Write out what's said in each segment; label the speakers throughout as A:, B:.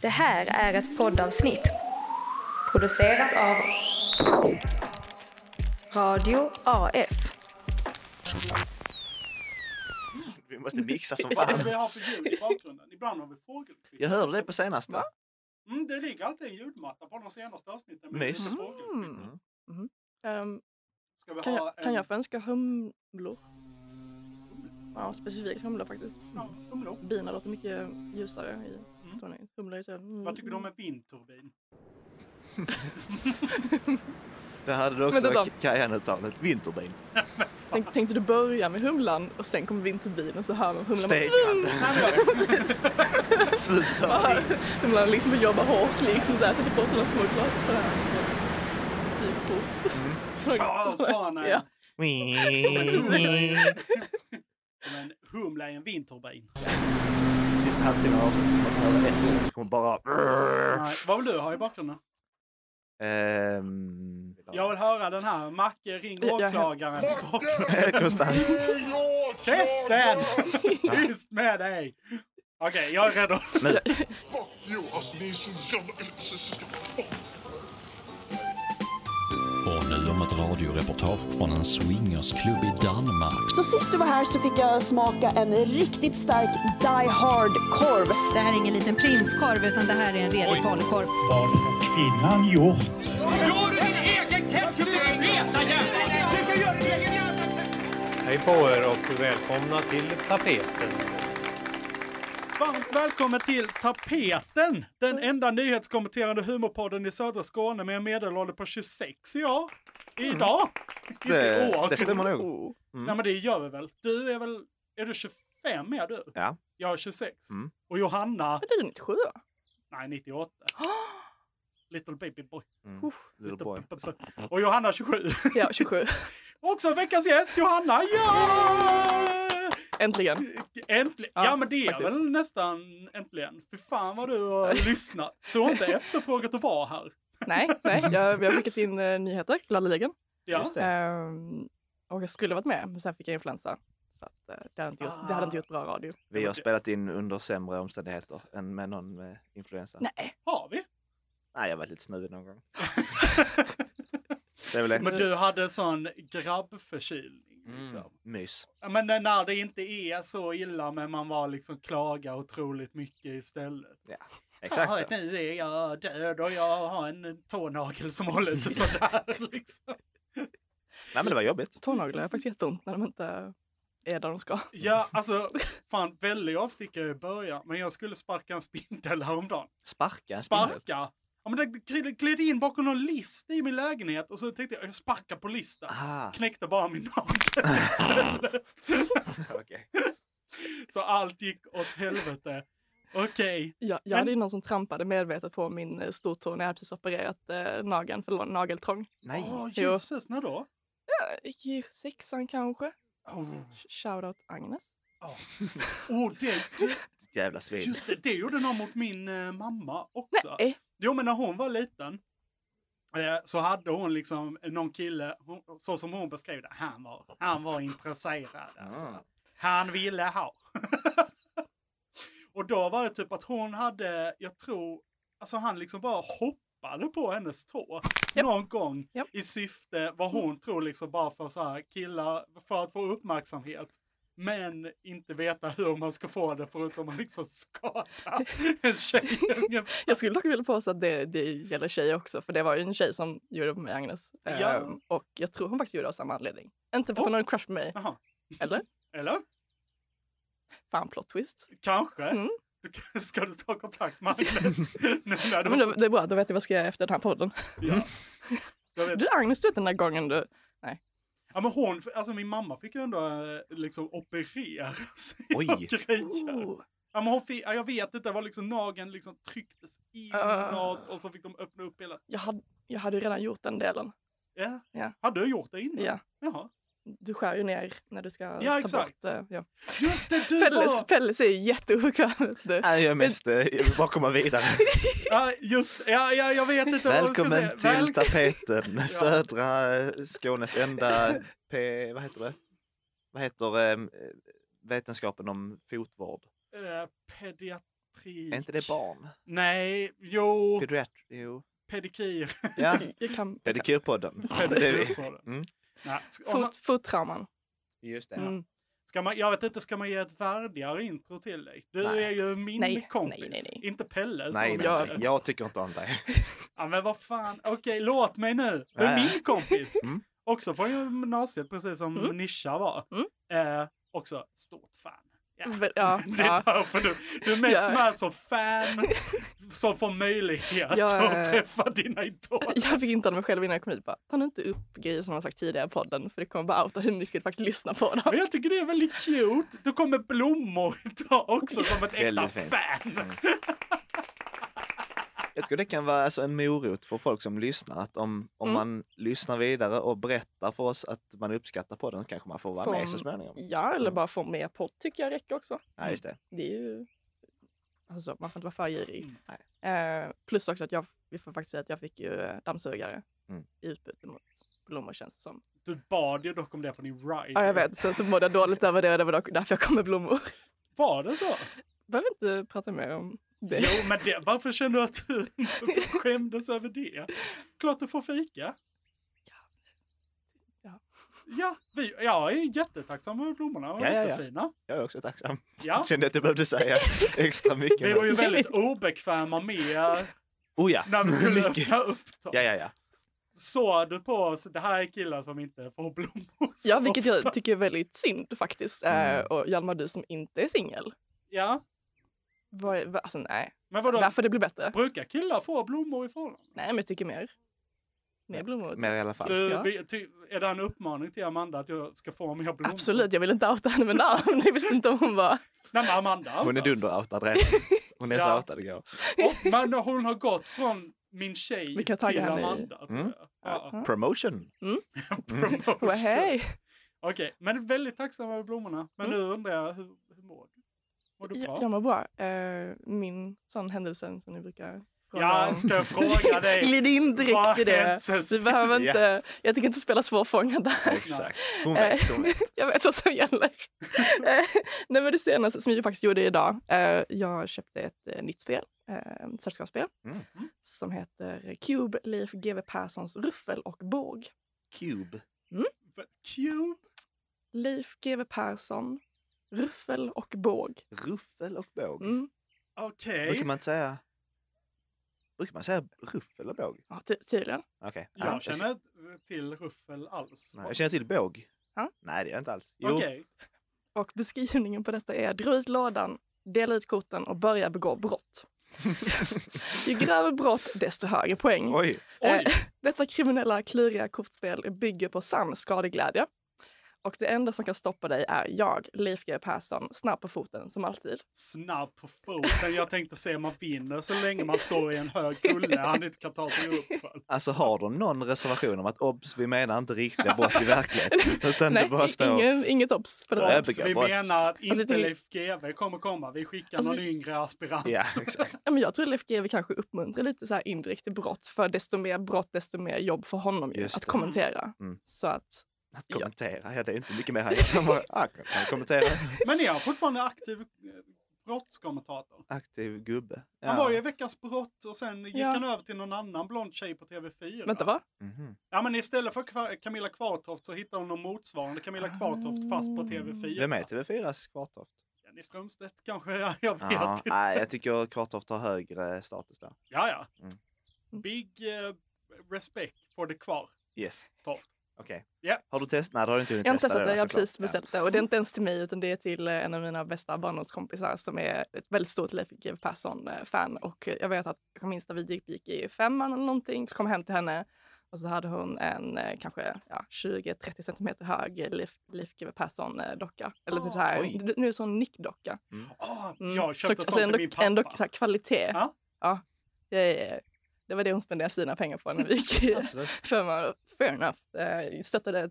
A: Det här är ett poddavsnitt producerat av Radio AF.
B: Vi måste mixa som
C: Vad är det
B: fan.
C: vi har för ljud i bakgrunden? Ibland har vi fågelkvitter.
B: Jag hörde det på senaste.
D: Va?
C: Mm, det ligger alltid en ljudmatta på de senaste avsnitten. med
B: Mys.
C: lite fågelkvitter.
B: Mm.
D: Ehm,
C: Ska vi
D: kan,
C: ha
D: jag, kan
C: en
D: jag få önska humlor? Ja, specifikt humlor faktiskt.
C: Ja, humlo?
D: Bina låter mycket ljusare i tonläget. Humlor är så... Mm.
C: Vad tycker du om en vindturbin?
B: Det hade du
D: Men
B: också
D: då-
B: Kajan-uttalet. Vinterbin.
D: Tänk, tänkte du börja med humlan och sen kommer vinterbin och så hör man humlan... "Mm!"
B: Stegrande.
C: Nej, men jag-
B: Sluta.
D: bara- humlan liksom jobbar hårt liksom sådär, sätter på sina små glas sådär. Flyger fort.
C: Mm.
D: Så-
C: Ja,
D: så-
C: sa han.
D: Ja.
C: Som en humla i en vindturbin.
B: Sista halvtimmen av avsnittet. man behöver ett ord, så kommer bara...
C: Nej, vad vill du ha i bakgrunden?
B: Ehm,
C: Jag vill höra den här. Macke, ring
D: Jag- jag-
C: åklagaren.
B: Konstant.
C: Käften! Tyst med dig! Okej, jag är rädd.
B: Nu.
E: Fuck you! Alltså ni är så jävla... så- så- så-
F: Och nu om ett radioreportage från en swingersklubb i Danmark.
G: Så sist du var här så fick jag smaka en riktigt stark Die Hard-korv.
H: Det här är ingen liten prinskorv utan det här är en redig falukorv.
C: Kvinnan gjort.
I: Hej på er och välkomna till tapeten.
C: Varmt välkommen till Tapeten! Den enda nyhetskommenterande humorpodden i södra Skåne med en medelålder på 26 i år. Idag! Inte i
B: Mm. Det,
C: år.
B: det stämmer nog.
D: Oh.
C: Nej men det gör vi väl. Du är väl... Är du 25 är du?
B: Ja.
C: Jag är 96.
B: Mm.
C: Och Johanna...
D: Vad är det, 97 va?
C: Nej, 98. Little baby boy.
B: Little boy.
C: Och Johanna 27.
D: Ja, 27.
C: Också veckans gäst, Johanna! Ja!
D: Äntligen.
C: Äntligen! Ja,
D: Ja,
C: men det är
D: faktiskt.
C: väl nästan äntligen. Fy fan vad du har lyssnat. Du har inte efterfrågat att vara här.
D: Nej, nej. Jag, vi har skickat in eh, nyheter, gladeligen.
C: Ja.
B: Just det.
D: Ehm, och jag skulle varit med, men sen fick jag influensa. Så att, eh, det, hade inte gjort, det hade inte gjort bra radio.
B: Vi har spelat in under sämre omständigheter än med någon eh, influensa.
D: Ah. Nej.
C: Har vi?
B: Nej, jag har varit lite snuvig någon gång. det är väl det.
C: Men du hade sån grabbförkylning.
B: Mm.
C: Liksom.
B: Mys.
C: Ja, Men när- när det inte är så illa men man var liksom klagar otroligt mycket istället.
B: Ja,
D: Ah,
B: exakt
C: Ja,
B: så.
C: nu är jag död och jag har en tånagel som håller lite sådär. Liksom.
B: Nej, men det var jobbigt.
D: Tånaglar är faktiskt jätteont när de inte är där de ska.
C: Ja, alltså fan väldigt avstickare i början. Men jag skulle sparka en spindel häromdagen.
B: Sparka. en spindel.
C: Sparka? Ja, men den glid- gled in bakom någon list i min lägenhet och så tänkte jag, jag sparkar på listen.
B: Ah,
C: Knäckte bara min nagel istället.
B: Ah, okej.
C: Så allt gick åt helvete. Okej.
D: Jag, jag
C: Men-
D: hade ju någon som trampade medvetet på min eh, stortå när jag hade precis opererat eh, nageln för lång- nageltrång.
B: Nej.
C: Åh,
D: Jo.
C: Jesus, när då?
D: Jag gick Eh, i sexan kanske.
B: Oh.
C: Åh,
D: Shoutout Agnes.
C: åh, det, det,
B: Ditt jävla svin.
C: just det, det gjorde någon mot min eh, mamma också.
D: Nej.
C: Jo, men när hon var liten eh, så hade hon liksom någon kille, hon, så som hon beskrev det, han var, han var intresserad. Alltså.
B: Ah.
C: Han ville ha. och då var det typ att hon hade, jag tror, alltså han liksom bara hoppade på hennes tå någon gång
D: Japp. Mm.
C: i syfte, vad hon tror liksom bara för så här killar, för att få uppmärksamhet. Men inte veta hur man ska få det förutom att liksom skada en tjej ungefär.
D: Jag skulle dock vilja påstå att det, det gäller tjejer också, för det var ju en tjej som gjorde det på mig, Agnes. Ehm,
C: Ja.
D: och jag tror hon faktiskt gjorde det av samma anledning. Inte för att hon
C: Oh.
D: hade en crush på mig,
C: Jaha.
D: eller?
C: Eller?
D: Fan, plot twist.
C: Kanske.
D: Mm.
C: Du kan- Ska du ta kontakt med Agnes? nu när
D: Ja,
C: du,
D: Men det, det är bra, då vet jag vad jag ska göra efter den här podden.
C: ja. Jag vet.
D: Du Agnes, du vet den där gången du...
C: Ja, men hon, alltså min mamma fick ju ändå eh, liksom operera sig
B: Oj.
C: och grejer.
D: Oh,
C: Ja, men hon fick, ja, jag vet inte, det var liksom nageln liksom trycktes inåt
B: Ah.
C: och så fick de öppna upp hela...
D: jag, hade, jag hade ju redan gjort den delen.
C: Ja.
D: Ja.
C: Hade du gjort det innan?
D: Ja,
C: Jaha.
D: du skär ju ner när du ska
C: Ja,
D: ta
C: exakt.
D: bort... eh, Ja.
C: Just det, du
D: Pelles,
C: var...
D: Pelles är ju jätteobekvämt.
B: Nej, jag är mest... eh, Jag vill bara komma vidare.
C: Ja, just ja, ja, jag vet inte vad jag ska
B: Välkommen
C: säga.
B: till tapeten.
C: Ja.
B: Södra eh, Skånes enda... P, vad heter det? Vad heter eh, vetenskapen om fotvård?
C: Väl... Eh, pediat... Pediatrik.
B: Är inte det barn?
C: Nej, jo,
B: Pediatri... Jo.
C: pedikir.
B: Ja.
D: Jag kan...
B: Pedikyrpodden. Det är vi.
C: Pedikir tror jag.
B: Mm.
C: Nej, ska- om man-
D: Fot, fottrauman.
B: Just det.
D: Mm.
C: Ska man, jag vet inte, ska man ge ett värdigare intro till dig? Du
B: Nej.
C: är ju min
D: Nej,
C: kompis,
D: nej, nej, nej.
C: inte Pelle.
B: Nej,
C: som-
B: nej,
D: gör
B: nej,
D: det.
B: jag tycker inte om dig.
C: Ja, men vad fan, okej, låt mig nu. Du är
B: Nej.
C: min kompis.
B: Mm.
C: Också från gymnasiet, precis som
D: Mm.
C: Nisha var. Eh, också stort fan. Ja.
D: Vä- Ja,
C: Det är
D: ja.
C: därför du, du är mest
D: Ja.
C: med som fan som får möjlighet
D: Ja.
C: att träffa dina idoler.
D: Jag vintade mig själv innan jag kom hit. Bara, ta nu inte upp grejer som jag har sagt tidigare i podden för det kommer bara outa hur mycket du faktiskt lyssnar på dem.
C: Men jag tycker det är väldigt cute. Du kom med blommor idag också som ett äkta
B: Väldigt fint.
C: fan.
B: Jag tror det kan vara alltså en morot för folk som lyssnar. Att om, om
D: Mm.
B: man lyssnar vidare och berättar för oss att man uppskattar podden kanske man får vara med så
D: Som-
B: småningom.
D: Ja, eller bara få mer podd tycker jag räcker också.
C: Mm.
B: Ja, just det.
D: Det är ju... Alltså, man får inte vara för girig.
B: Nej.
D: Eh, plus också att jag, vi får faktiskt säga att jag fick ju eh, dammsugare
B: Mm.
D: i utbyte mot blommor känns det som.
C: Du bad ju dock om det på din ride.
D: Ja, jag vet. Sen så mådde jag dåligt över det och det var dock därför jag kom med blommor.
C: Var det så?
D: Behöver inte prata mer om det.
C: Jo, men det, varför känner du att du skämdes över det? Klart du får fika.
D: Ja.
C: Ja, vi, jag är jättetacksam över blommorna. De var
B: Ja, ja, ja.
C: jättefina.
B: Jag är också tacksam.
C: Ja.
B: Kände att jag behövde säga extra mycket.
C: Vi var ju väldigt obekväma med
B: Oh ja.
C: när vi skulle
B: Mycket.
C: öppna upp dem.
B: Ja, ja, ja.
C: Såg du på oss, det här är killar som inte får blommor så
D: Ja, vilket
C: ofta.
D: jag tycker är väldigt synd faktiskt. Eh,
B: Mm.
D: Och Hjalmar, du som inte är singel.
C: Ja,
D: Vad är- vad- Alltså nej,
C: men vadå?
D: där får det bli bättre.
C: Brukar killar få blommor ifrån dem?
D: Nej, men jag tycker mer. Mer blommor.
B: Mer i alla fall.
C: Du,
D: Ja.
C: vi, ty, är det en uppmaning till Amanda att jag ska få mer blommor?
D: Absolut, jag vill inte outa henne med namn. Jag visste inte om hon var...
C: Nej, men Amanda
B: Hon är
C: alltså.
B: dunderoutad redan. Hon är så
C: Ja.
B: outad igår.
C: Och, men hon har gått från min tjej
D: Vi kan tagga
C: till
D: henne i-
C: Amanda. tror
B: Mm.
C: jag. Ja.
B: Promotion.
C: Promotion.
D: Well, hej!
C: Okej, men väldigt tacksam över blommorna. Men
D: Mm.
C: nu undrar jag, hur, hur mår du? Mår du bra?
D: Jag, jag mår bra. Eh, min sån händelse som ni brukar fråga
C: Ja,
D: om.
C: ska jag fråga dig?
D: Glid in direkt
C: Vad
D: i
C: har
D: det.
C: hänt sen
D: Vi behöver
B: sist?
D: inte,
B: Yes.
D: Jag tänker inte spela svårfångad där. Eh,
B: Exakt. Hon
C: Eh.
B: vet. Hon vet.
D: jag vet vad som gäller. Eh, Nej, men det senaste som jag faktiskt gjorde idag. eh, Jag köpte ett eh, nytt spel, eh, ett sällskapsspel,
B: Mm.
D: som heter Cube Leif GW Perssons Ruffel och båg.
B: Cube.
C: Cube?
D: Leif GW Persson, Ruffel och båg.
B: Ruffel och båg.
D: Mm.
C: Okej.
B: Brukar man inte säga... Brukar man säga ruffel och båg?
D: Ja, ty- tydligen.
B: Okej. Ja,
C: Jag känner inte till ruffel alls.
B: Nej, jag känner till båg.
D: Ja.
B: Nej, det gör jag inte alls. Jo,
C: Okej.
D: Och beskrivningen på detta är dra ut lådan, dela ut korten och börja begå brott. Ju grövre brott, desto högre poäng.
B: oj.
C: Oj.
D: Eh, Detta kriminella, kluriga kortspel bygger på sann skadeglädje. Och det enda som kan stoppa dig är jag, Leif G W Persson, snabb på foten som alltid.
C: Snabb på foten. Jag tänkte se om man vinner så länge man står i en hög kulle han inte kan ta sig upp för.
B: Alltså har de någon reservation om att obs, vi menar inte riktiga brott i verkligheten. Utan det
D: Nej,
B: bara står...
D: ingen, inget obs på det.
B: Ja,
D: där.
B: jag
C: Obs,
B: tycker
C: vi
B: jag bara-
C: menar att inte
D: jag tycker-
C: Leif GW kommer komma. Vi skickar
D: Alltså,
C: någon yngre aspirant.
B: Ja, exakt.
D: Ja, men jag tror Leif GW kanske uppmuntrar lite så här indirekt till brott. För desto mer brott, desto mer jobb för honom ju,
B: Just
D: att
B: det.
D: kommentera.
B: Mm.
D: Så att
B: Att kommentera, ja det är inte mycket mer han gör. Han bara, ah, kan jag kommentera.
C: Men ni har fortfarande aktiv eh, brottskommentator.
B: Aktiv gubbe. Ja.
C: Han var ju i Veckans Brott och sen gick
D: Ja.
C: han över till någon annan blond tjej på TV4.
D: Vänta, va?
B: Mhm.
C: Ja, men istället för Kva- Camilla Kvartoft så hittade hon någon motsvarande Camilla
D: Ah.
C: Kvartoft fast på TV4.
B: Vem är TV4s Kvartoft?
C: Jenny Strömstedt kanske? Ja, Jag vet
B: Ja,
D: typ.
B: ah.
C: inte.
B: nej, jag tycker Kvartoft har högre status där.
C: Ja, ja.
B: Mm.
C: Big eh, respect for the Kvartoft.
B: Yes, okej.
C: Ja.
B: Har du testat? Nej, det har du inte hunnit
D: Jag har inte
B: testa.
D: testat det, jag har
B: såklart.
D: precis beställt det. Och det är inte ens till mig utan det är till eh, en av mina bästa barndomskompisar som är ett väldigt stort Leif GW Persson-fan. Och eh, jag vet att, jag minns när vi gick, gick i femman eller någonting, så kom jag hem till henne och så hade hon en eh, kanske ja, 20-30 centimeter hög eh, Leif, Leif GW Persson-docka. Eller typ så här,
B: Oj.
D: nu är det en sån nickdocka.
C: Ah,
D: Mm.
C: Jag köpte
D: alltså
C: sånt
D: en
C: till min
D: dock- En dock,
C: pappa.
D: så här, kvalitet.
C: Ja.
D: ja det, är- det var det hon spenderade sina pengar på när vi gick i
B: Absolut.
D: femman. Fair enough. Eh, stöttade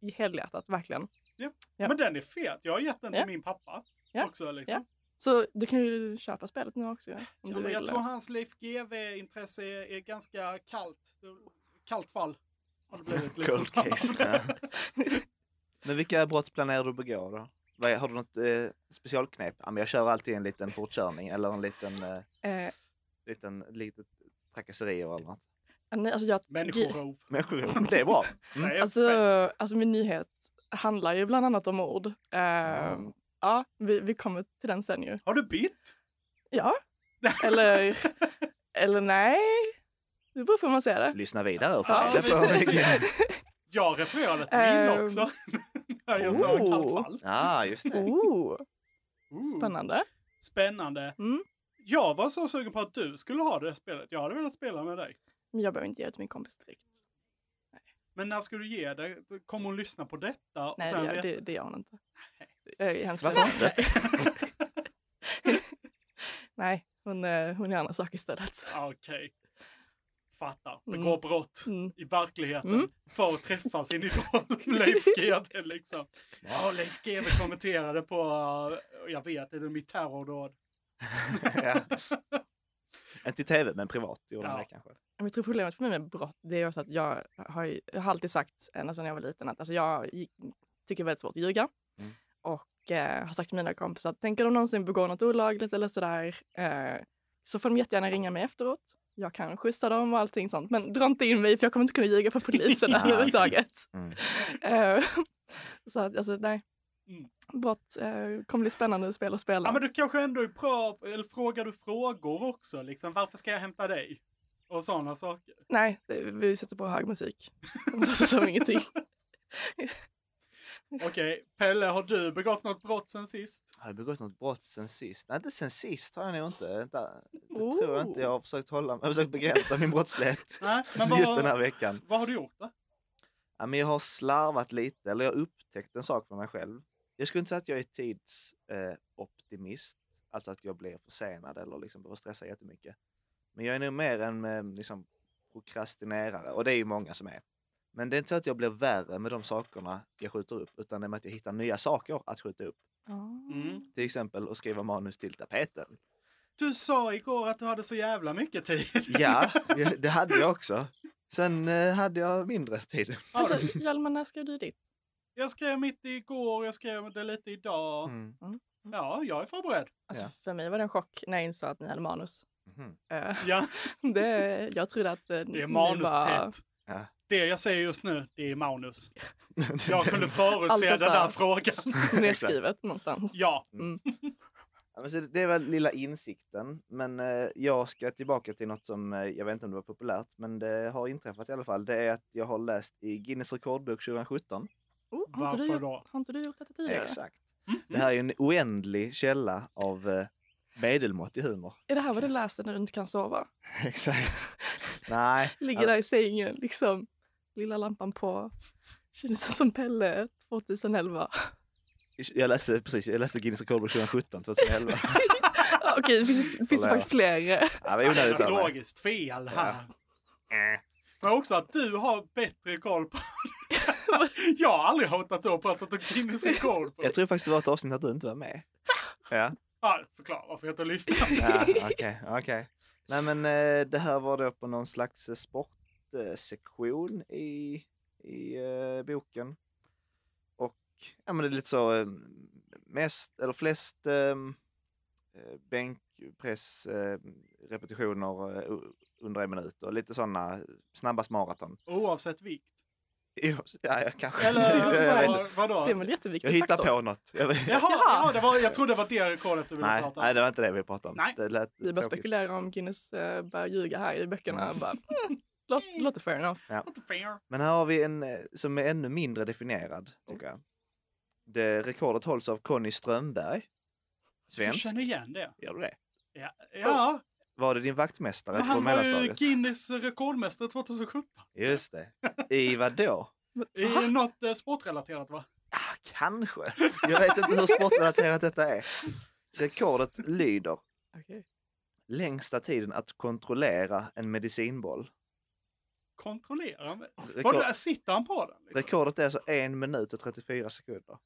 D: i helhjärtat, verkligen. Ja.
C: Men den är fet. Jag har gett den till
D: Ja.
C: min pappa.
D: Ja.
C: Också, liksom.
D: Ja. Så du kan ju köpa spelet nu också. Ja, om
C: Ja,
D: du
C: men jag
D: vill.
C: tror hans Leif GW-intresse är, är ganska kallt. Kallt fall. Har det blivit liksom.
B: Cold case. ja. Men vilka brott planerar du att begå då? Vad är- Har du något eh, specialknep? Ja, men jag kör alltid en liten fortkörning eller en liten, eh,
D: Eh,
B: liten lite trakasserier eller något.
D: nej, alltså jag,
C: Människorov.
B: Människorov, det är bra.
C: Det är fett.
D: Alltså, alltså min nyhet handlar ju bland annat om ord. Eh, ja, vi, vi kommer till den sen ju.
C: Har du bytt?
D: Ja. Eller, eller nej. Det beror på hur man ser det.
B: Lyssna vidare och få
C: Ja,
B: reda på
C: precis.
B: vilken-
C: Jag refererade till min
D: Ehm.
C: också. När jag sa
D: Oh.
C: kallt fall.
B: Ja, just det.
D: Oh,
C: Ooh.
D: spännande.
C: Spännande.
D: Mm.
C: Jag var så sugen på att du skulle ha det spelet. Jag hade velat spela med dig.
D: Men jag behöver inte ge det till min kompis direkt.
C: Men när ska du ge det? Kommer hon lyssna på detta? och
D: Nej,
C: sen
D: det gör,
C: veta-
D: det, det gör hon inte. Eh, Jag är hemskt
B: Varför
D: ledsen.
B: inte?
D: Nej, hon, eh, hon gör andra saker istället.
C: Ah, Okej. Fattar.
D: Mm.
C: Begå brott
D: Mm.
C: i verkligheten
D: Mm.
C: för att träffa sin idol Leif GW liksom. Ja, Leif GW kommenterade på, eh, jag vet inte, mitt terrordåd.
B: ja. Inte i tv, men privat gjorde han
C: Ja.
B: det kanske.
D: Men Jag tror problemet för mig med brott det är ju också att jag har, ju- jag har alltid sagt ända sedan jag var liten att alltså jag gick, tycker det är väldigt svårt att ljuga.
B: Mm.
D: Och eh, har sagt till mina kompisar att tänker de någonsin begå något olagligt eller sådär eh, så får de jättegärna ringa mig efteråt. Jag kan skjutsa dem och allting sånt. Men dra inte in mig för jag kommer inte kunna ljuga för polisen
B: Ja.
D: överhuvudtaget.
B: Mm.
D: Eh, så att alltså nej.
C: Mm.
D: Brott eh, kommer bli spännande spel att spela.
C: Ja, men du kanske ändå är bra, eller frågar du frågor också liksom. Varför ska jag hämta dig? Och sådana saker.
D: Nej, det, vi sätter på hög musik. Det låtsas som ingenting.
C: Okej, Pelle, har du begått något brott sen sist?
B: Har jag begått något brott sen sist? Nej, inte sen sist har jag nog inte. Inte- Det tror jag inte.
D: Oh.
B: Jag har försökt, hålla, jag har försökt begränsa min brottslighet
C: Nej, men
B: just den här
C: vad,
B: veckan.
C: vad har du gjort då?
B: Ja, men jag har slarvat lite, eller jag har upptäckt en sak för mig själv. Jag skulle inte säga att jag är tidsoptimist, eh, optimist, alltså att jag blir försenad eller liksom behöver stressa jättemycket. Men jag är nog mer en eh, liksom, prokrastinerare, och det är ju många som är. Men det är inte så att jag blir värre med de sakerna jag skjuter upp, utan det är med att jag hittar nya saker att skjuta upp.
C: Mm.
B: Till exempel att skriva manus till tapeten.
C: Du sa igår att du hade så jävla mycket tid.
B: Ja, det hade jag också. Sen eh, hade jag mindre tid.
C: Har du?
D: Vänta, Hjalmar, när skrev du ditt?
C: Jag skrev mitt igår, jag skrev det lite idag.
B: Mm.
C: Ja, jag är förberedd.
D: Alltså,
B: Ja.
D: För mig var det en chock när jag insåg att ni hade manus.
B: Mhm.
D: Eh,
C: Ja,
D: det, jag trodde att
C: det
D: eh,
C: är
D: ni bara-
C: manustätt.
B: Ja.
C: Det jag säger just nu, det är manus. Jag kunde förutse den
D: detta.
C: där frågan.
D: nedskrivet någonstans.
C: Ja,
B: Ja, men så det är väl lilla insikten, men eh, jag ska tillbaka till något som, eh, jag vet inte om det var populärt, men det har inträffat i alla fall. Det är att jag har läst i Guinness rekordbok 2017.
D: Oh, har, inte du
C: Varför
D: gjort,
C: då?
D: har inte du gjort detta tidigare?
B: Exakt. Det här är ju en oändlig källa av eh, medelmåttig humor.
D: Är det här vad du läser när du inte kan sova?
B: Exakt. Nej.
D: Ligger där i sängen, liksom. Lilla lampan på. Känns som Pelle 2011.
B: Jag läste precis, jag läste Guinness rekordbok 2017, 2011.
D: Ja, Okej, det finns, det finns ju
B: Kolla,
D: faktiskt fler. eh,
B: Ja, det var onödigt av mig.
C: logiskt fel här. Men också att du har bättre koll på Jag har aldrig hört att du har pratat om Guinness rekord. på-
B: Jag tror faktiskt det var ett avsnitt att du inte var med. Ja.
C: Ja, förklara varför jag inte lyssnar.
B: Ja, Okej, okej. Nej men eh, det här var då på någon slags eh, sportsektion i, i eh, boken. Och ja men det är lite så eh, mest eller flest eh, bänkpress eh, repetitioner eh, u- under en minut och lite sådana snabbast maraton.
C: Oavsett vikt.
B: Jo, Ja, jag kanske.
C: Eller
B: jag, vet inte.
C: vad, vadå?
D: Det är väl jätteviktigt.
B: jag hittar på något. Jag vet.
C: Jaha, ja, det var, jag trodde det var det rekordet du ville
B: Nej,
C: prata om.
B: nej, det var inte det vi pratade om.
C: Nej.
B: Det lät
D: Vi bara
B: tråkigt.
D: spekulerar om Guinness eh, börjar ljuga här i böckerna. Bara, mm, låter, låter fair enough.
C: Not fair.
B: Men här har vi en eh, som är ännu mindre definierad, tycker jag. Det rekordet hålls av Conny Strömberg.
C: Jag
B: Svensk.
C: känner igen det.
B: Gör du det?
C: Ja, ja
B: Var det din vaktmästare
C: men
B: på
C: han var ju
B: mellanstadiet?
C: Guinness rekordmästare 2017.
B: Just det. I vadå?
C: I något eh, sportrelaterat va?
B: Ah, kanske. Jag vet inte hur sportrelaterat detta är. Rekordet lyder
D: Okej.
B: längsta tiden att kontrollera en medicinboll.
C: Kontrollera. men-
B: Rekord,
C: Vadå, sitter han på den? Liksom?
B: rekordet är alltså en minut och 34 sekunder.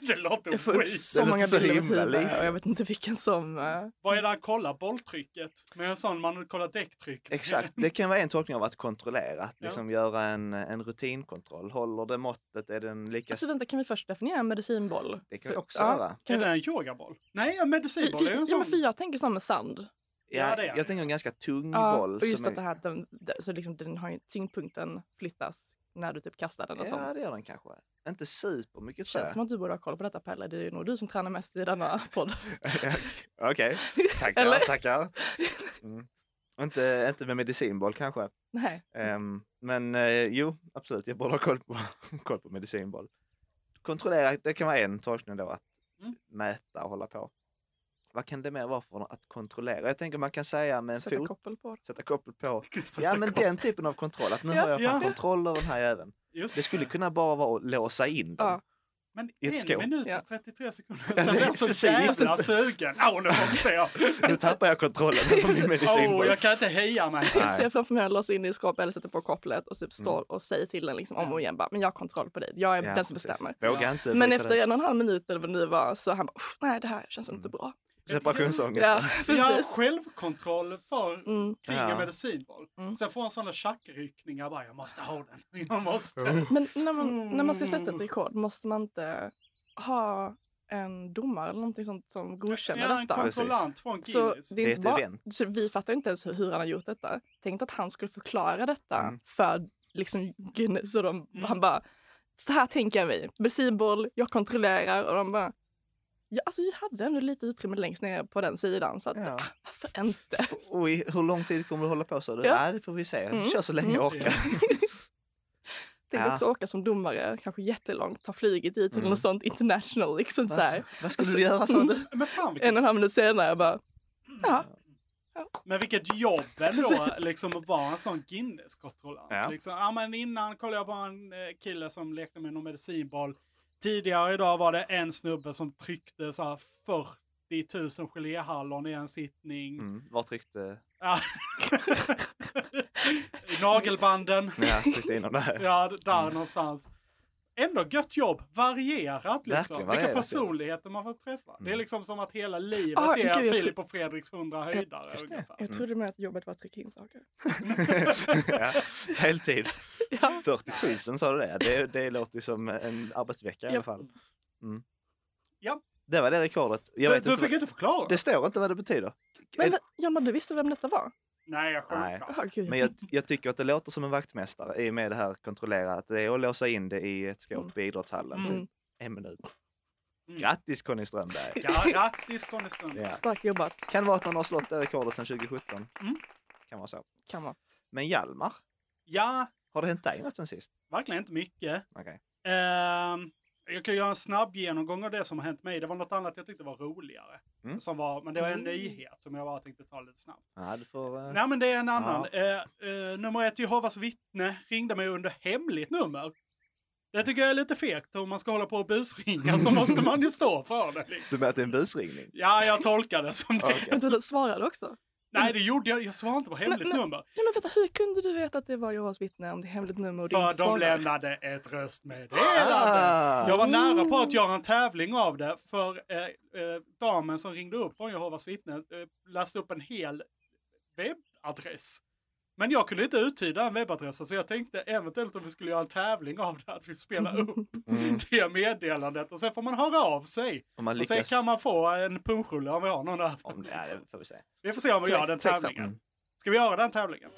C: det låter
D: Jag får upp
C: skit.
D: så
B: Det låter
D: många
B: så
D: bilder i mitt
B: himla
D: huvud
B: likt.
D: och jag vet inte vilken som... eh,
C: Vad är det han kollar? Bolltrycket? Med en sån man kollar däcktrycket.
B: Exakt, det kan vara en tolkning av att kontrollera. Att liksom göra en, en rutinkontroll. Håller det måttet? Är den lika...
D: Alltså vänta, kan vi först definiera en medicinboll?
B: det kan
D: För-
B: vi också
D: ja.
B: göra.
C: Är det en yogaboll? Nej, en
D: Fy,
C: medicinboll.
D: fy,
C: Det är en
D: ja,
C: sån.
D: men för jag tänker som med sand.
B: Ja,
C: Ja, det är det.
B: jag tänker en ganska tung
D: Ja,
B: boll.
D: och just
B: som
D: att det här, att den, så liksom, den har ju, tyngdpunkten flyttas när du typ kastar den
B: är...
D: och
B: Ja,
D: sånt.
B: det gör den kanske. Inte supermycket tror
D: Känns som
B: jag.
D: att du borde ha koll på detta Pelle, det är ju nog du som tränar mest i denna podd.
B: Okej, tackar,
D: Eller?
B: tackar. Mm. Inte, inte med medicinboll kanske.
D: Nej,
B: Ehm, men eh, jo, absolut, jag borde ha koll på, koll på medicinboll. Kontrollera, det kan vara en tolkning då, att
C: Mm.
B: mäta och hålla på. Vad kan det mer vara för något? att kontrollera? Jag tänker man kan säga med en
D: sätta
B: fot,
D: koppel på.
B: sätta koppel på.
C: Sätta
B: Ja, men
C: koll.
B: den typen av kontroll, att nu
D: Ja,
B: har jag fan
C: ja.
B: kontroll över den här jäveln.
C: Just
B: Det skulle kunna bara vara att låsa in den.
D: Ja.
C: Men
B: i ett
C: en
B: skåp.
C: minut
D: Ja.
C: och 33 sekunder.
B: Ja,
C: Sen är jag
B: precis.
C: så jävla sugen. Åh, nu måste jag.
B: Nu tappar jag kontrollen över min medicinboll.
C: Åh, jag kan inte heja mig.
D: Jag ser framför mig att låsa in i skåpet eller sätta på kopplet och typ står och säger till den liksom om och igen bara, men jag har kontroll på dig, jag är
B: Mm. Ja,
D: den som
B: precis.
D: bestämmer.
B: Våga inte.
D: Men
B: bryta
D: efter en och en halv minut eller vad Typ det Mm. nu var så han bara, "Uff, nej det här känns inte bra.
B: den. Separationsångesten.
D: Ja,
C: Ja,
D: precis.
C: självkontroll för
D: Mm.
C: kring
B: Ja.
C: en medicinboll.
D: Mm.
C: Sen får han sådana tjackryckningar bara, jag måste ha den. Jag måste.
B: Oh.
D: Men när man, när man ska sätta
C: Mm.
D: ett rekord, måste man inte ha en domare eller någonting sånt som godkänner
C: Ja, en
D: detta?
C: kontrollant från
D: Så
C: Guinness.
D: det är
B: Det är
D: inte
B: ett
D: bara,
B: event.
D: så vi fattar inte ens hur, hur han har gjort detta. Tänk att han skulle förklara detta
B: Mm.
D: för liksom Guinness och de,
C: Mm.
D: han bara så här tänker jag mig, bensinboll, jag kontrollerar och de bara Ja, alltså vi hade ändå lite utrymme längst ner på den sidan så att,
B: Ja.
D: ah, varför inte?
B: Och i, hur lång tid kommer du hålla på? Så du?
D: Ja.
B: Nej, det får vi se.
D: Mm.
B: Kör så länge jag orkar.
D: Tänk
B: Ja.
D: också åka som domare, kanske jättelångt, ta flyget dit eller
B: Mm.
D: något sånt international liksom så här.
B: Alltså, vad skulle du göra sa du?
C: Men fan vilket,
D: En och en halv minut senare jag bara, ja,
C: men vilket jobb ändå,
D: Precis.
C: liksom att vara en sån Guinness-kontrollant.
B: Ja.
C: Liksom, ja, men innan kollade jag på en eh, kille som lekte med någon medicinboll. Tidigare idag var det en snubbe som tryckte så här 40 000 geléhallon i en sittning.
B: Mm, var tryckte,
C: Ja. Nagelbanden.
B: ja, tryckte inom det här?
C: Ja, d- där
B: Mm.
C: någonstans. Ändå gött jobb, varierat liksom.
B: Verkligen varierat,
C: Vilka
B: ja.
C: personligheter man får träffa. Det är
B: Mm.
C: liksom som att hela livet
D: Ah, gud,
C: är
D: jag tror-
C: Filip och Fredriks hundra höjdare.
B: Just det.
C: ungefär.
D: jag trodde med att jobbet var att trycka in saker.
B: ja, heltid.
D: Ja.
B: 40 000 sa du det. det. Det låter ju som en arbetsvecka i alla
D: Japp.
B: fall. Mm.
C: Japp.
B: Det var det rekordet. Jag
C: Du,
B: vet
C: du
B: inte
C: fick
B: vad,
C: inte förklara?
B: det står inte vad det betyder.
D: Men
B: Eh,
D: Jonna, du visste vem detta var?
C: Nej, jag
B: Nej.
C: skämtar.
D: Ah, gud,
B: Men jag, jag tycker att det låter som en vaktmästare i och med det här kontrollera. Att det är att låsa in det i ett skåp i idrottshallen.
C: Mm.
B: Typ. En minut.
C: Mm.
B: Grattis Conny Strömberg!
C: Ja, Grattis Conny Strömberg.
B: Ja.
D: Starkt jobbat,
B: Kan vara att man har slått det rekordet sedan 2017.
C: Mm.
B: Kan vara så.
D: kan man.
B: Men Hjalmar,
C: Ja,
B: har det hänt dig något sen sist?
C: verkligen inte mycket.
B: Okej.
C: Ehm, jag kan göra en snabb genomgång av det som har hänt mig. Det var något annat jag tyckte var roligare.
B: Mm.
C: Som var, men det var en
D: Mm.
C: nyhet som jag bara tänkte ta lite snabbt.
B: Ja, du får... eh,
C: Nej men det är en annan. Eh, eh, nummer ett, Jehovas vittne, ringde mig under hemligt nummer. Det tycker jag är lite fegt. Om man ska hålla på och busringa så måste man ju stå för det. Liksom.
B: Som att det är en busringning?
C: Ja, jag tolkar det som det.
B: Okej.
D: Men du svarade också.
C: Nej, det gjorde jag. Jag svarade inte på hemligt
D: Men- men-
C: nummer.
D: Ja, men vänta, hur kunde du veta att det var Jehovas vittne om det är hemligt nummer och du
C: För
D: inte
C: de
D: svarar?
C: lämnade ett röstmeddelande.
B: Ah,
C: Jag var nära på att göra en tävling av det, för eh, eh, damen som ringde upp från Jehovas vittnen eh, läste upp en hel webbadress. Men jag kunde inte uttyda den webbadressen, så jag tänkte eventuellt om vi skulle göra en tävling av det, att vi spelar upp
B: Mm.
C: det meddelandet och sen får man höra av sig.
B: Om man
C: Och sen
B: lyckas...
C: kan man få en punschrulle om vi har
B: Om,
C: någon över.
B: ja,
C: liksom.
B: det får vi se.
C: Vi får se om vi gör den
B: Tveksamt.
C: tävlingen.
B: Mm.
C: Ska vi göra den tävlingen?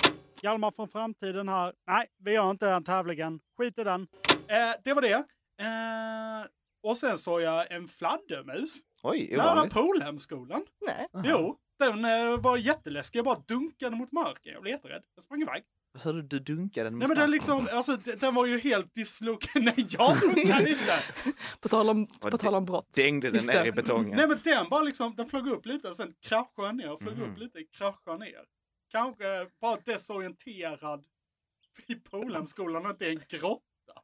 C: Hjalmar från framtiden här. Nej, vi gör inte den tävlingen. Skit i den. Eh, det var det. Eh, och sen såg jag en fladdermus.
B: Oj,
C: Nära
B: ovanligt.
C: Polhemskolan.
D: Nej.
C: Jo, den eh, var jätteläskig. Jag bara dunkade mot marken. Jag blev jätterädd. Jag sprang iväg.
B: Vad sa du? Du dunkade den mot
C: Nej men
B: marken.
C: den liksom, alltså d- den var ju helt dislokerad. Nej, jag dunkade inte.
D: På tal om, på
B: det-
D: tal om brott.
B: Dängde den
D: Just
B: ner
D: det.
B: i betongen.
C: Nej men den bara liksom, den flög upp lite och sen kraschade den ner, flög
B: Mhm.
C: upp lite, kraschade ner. Kanske bara desorienterad i Polhemskolan och inte en grotta. Ja,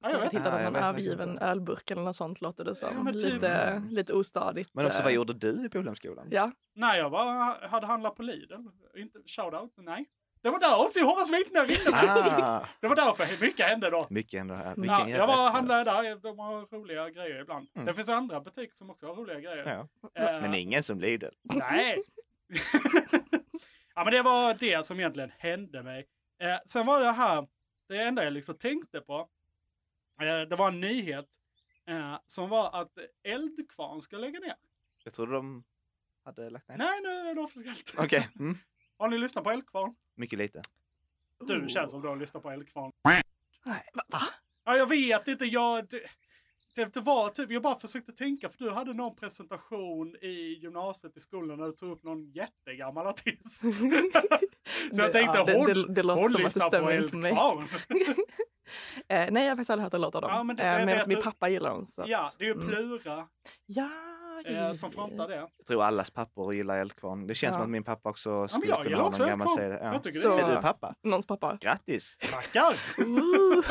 C: jag
D: Säkert
C: vet. inte.
D: hittade
B: Nej, jag
D: någon
B: vet faktiskt
D: övergiven
B: inte.
D: ölburk eller något sånt låter det som.
C: men typ.
D: lite, lite ostadigt.
B: Men också,
D: eh,
B: vad gjorde du i Polhemskolan?
D: Ja,
C: Nej, jag var, hade handlat på Lidl. Inte, shout out, nej. Det var där också Jehovas vittnen vittnade.
B: Ah,
C: Det var därför mycket hände då.
B: mycket ändå här. Vilken
C: Ja,
B: jävla
C: jag var och
B: eftermiddag.
C: handlade där, de har roliga grejer ibland.
B: Mm.
C: Det finns andra butiker som också har roliga grejer.
B: Ja.
C: Eh,
B: Men ingen som lider.
C: Nej. ja, men det var det som egentligen hände mig. Eh, sen var det här, det enda jag liksom tänkte på, eh, det var en nyhet eh, som var att Eldkvarn ska lägga ner.
B: Jag trodde de hade lagt ner.
C: Nej, nu är det officiellt.
B: Okej, mm.
C: Har ni lyssnat på Eldkvarn?
B: mycket lite.
C: Du
D: Oh.
C: känns som du har lyssnat på Eldkvarn.
D: Nej, va? va?
C: Ja, jag vet inte, jag... Det, det, det var typ, jag bara försökte tänka, för du hade någon presentation i gymnasiet i skolan där du tog upp någon jättegammal artist. Så jag
D: Det-
C: tänkte,
D: ja, det-
C: hon,
D: det- det låter
C: hon
D: som
C: lyssnar
D: att det
C: på
D: stämmer in på mig.
C: Eldkvarn.
D: Eh, nej, jag har faktiskt aldrig hört en låt av dem.
C: Ja, men
D: men
C: det- jag
D: eh, men
C: vet
D: att min
C: du-
D: pappa gillar dem. Så att,
C: Ja, det är ju
D: mm.
C: Plura
D: Ja,
C: eh, som frontar det.
B: Jag tror allas pappor gillar Eldkvarn. Det känns
D: Ja.
B: som att min pappa också skulle
C: jag
B: kunna
C: gillar
B: ha
C: också
B: någon gammal
C: Eldkvarn.
B: CD. Ja.
C: Jag tycker
D: Så-
C: det är
B: Är
C: kul.
B: du pappa?
D: Någons pappa.
B: Grattis!
C: Tackar!
D: Ooh.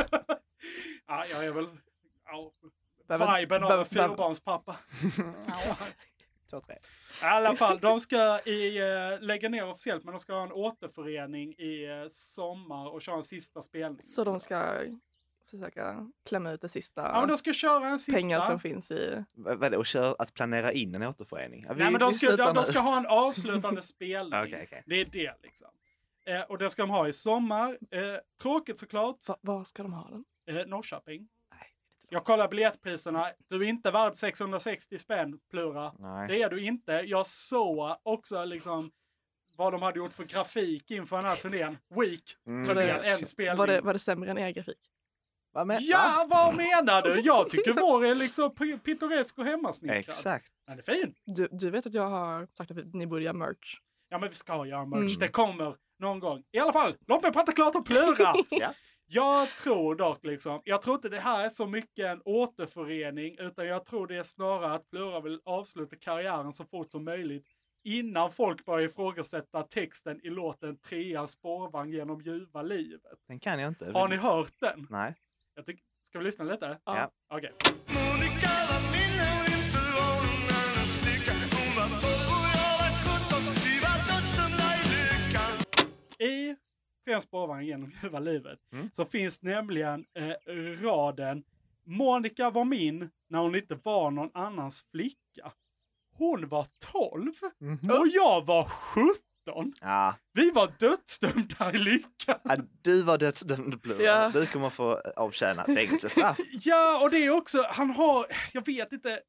C: ja, jag är väl... Ja,
D: Behöver-
C: viben av en
D: behöver- behöver-
C: fyrbarnspappa.
B: Två, tre.
C: I alla fall, de ska i, eh, lägga ner officiellt, men de ska ha en återförening i eh, sommar och köra en sista spelning.
D: Så de ska försöka klämma ut det sista
C: Ja, men de ska köra en sista.
D: pengar som finns i...
B: Vad vad är det? Och kör, att planera in en återförening? Ja, vi-
C: Nej, men de
B: vi
C: ska,
B: slutar
C: de, de
B: nu.
C: ska ha en avslutande spelning.
B: Okej, okej.
C: Det är det liksom. Eh, och det ska de ha i sommar. Eh, tråkigt såklart.
D: Va, var ska de ha den?
C: Eh, Norrköping.
D: Nej,
C: Jag kollar biljettpriserna. Du är inte värd 660 spänn, Plura.
B: Nej.
C: Det är du inte. Jag såg också liksom vad de hade gjort för grafik inför den här turnén. Week.
B: Mm.
D: Var
C: Turnén,
D: det-
C: en spelning.
D: Var det, var det sämre än er grafik?
B: Va, men,
C: Ja, vad menar du? Jag tycker vår är liksom p- pittoresk och
B: va?
C: hemmasnickrad.
B: Exakt.
C: Den är fin.
D: Du, du vet att jag har sagt att vi- ni borde göra merch.
C: Ja, men vi ska göra merch.
D: Mm.
C: Det kommer någon gång. I alla fall, låt mig prata klart om Plura.
B: Ja.
C: Jag tror dock liksom, jag tror inte det här är så mycket en återförening, utan jag tror det är snarare att Plura vill avsluta karriären så fort som möjligt innan folk börjar ifrågasätta texten i låten Treans spårvagn genom ljuva livet.
B: Den kan jag inte.
C: Har ni hört den?
B: Nej.
C: Jag tyck- Ska vi lyssna lite?
B: Ja.
C: Okej. I Treans spårvagn genom ljuva livet
B: Mm.
C: så finns nämligen eh, raden Monica var min när hon inte var någon annans flicka. Hon var 12 och jag var 17.
B: Ja.
C: Vi var dödsdömda i lyckan.
B: Ja, Du var dödsdömd Plura.
D: Ja.
B: Du kommer få avtjäna fängelsestraff.
C: Ja, och det är också, han har, jag vet inte,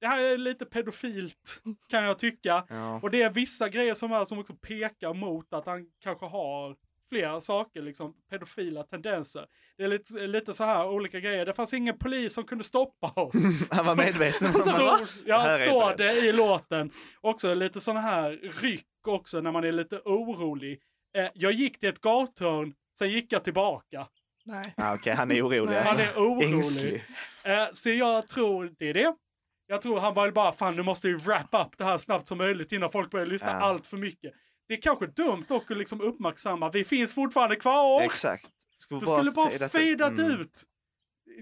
C: det här är lite pedofilt kan jag tycka.
B: Ja.
C: Och det är vissa grejer som är som också pekar mot att han kanske har flera saker, liksom pedofila tendenser. Det är lite, lite så här olika grejer. Det fanns ingen polis som kunde stoppa oss.
B: Han var medveten om att
C: Står,
B: Här
C: ja,
B: är
C: står
B: inte
C: det i låten. Också lite sån här ryck också när man är lite orolig. Eh, jag gick till ett gathörn, sen gick jag tillbaka.
D: Nej.
B: Ah, Okej, han är orolig.
D: Nej.
B: alltså.
C: Han är orolig.
B: Ängslig.
C: Eh, så jag tror det är det. Jag tror han var bara, fan nu måste vi wrap up det här snabbt som möjligt innan folk börjar lyssna
B: Ja.
C: allt för mycket. Det är kanske dumt dock att liksom uppmärksamma, vi finns fortfarande kvar!
B: Exakt. Skulle
C: det skulle bara
B: fejdat
C: fejdat
B: Mm.
C: ut!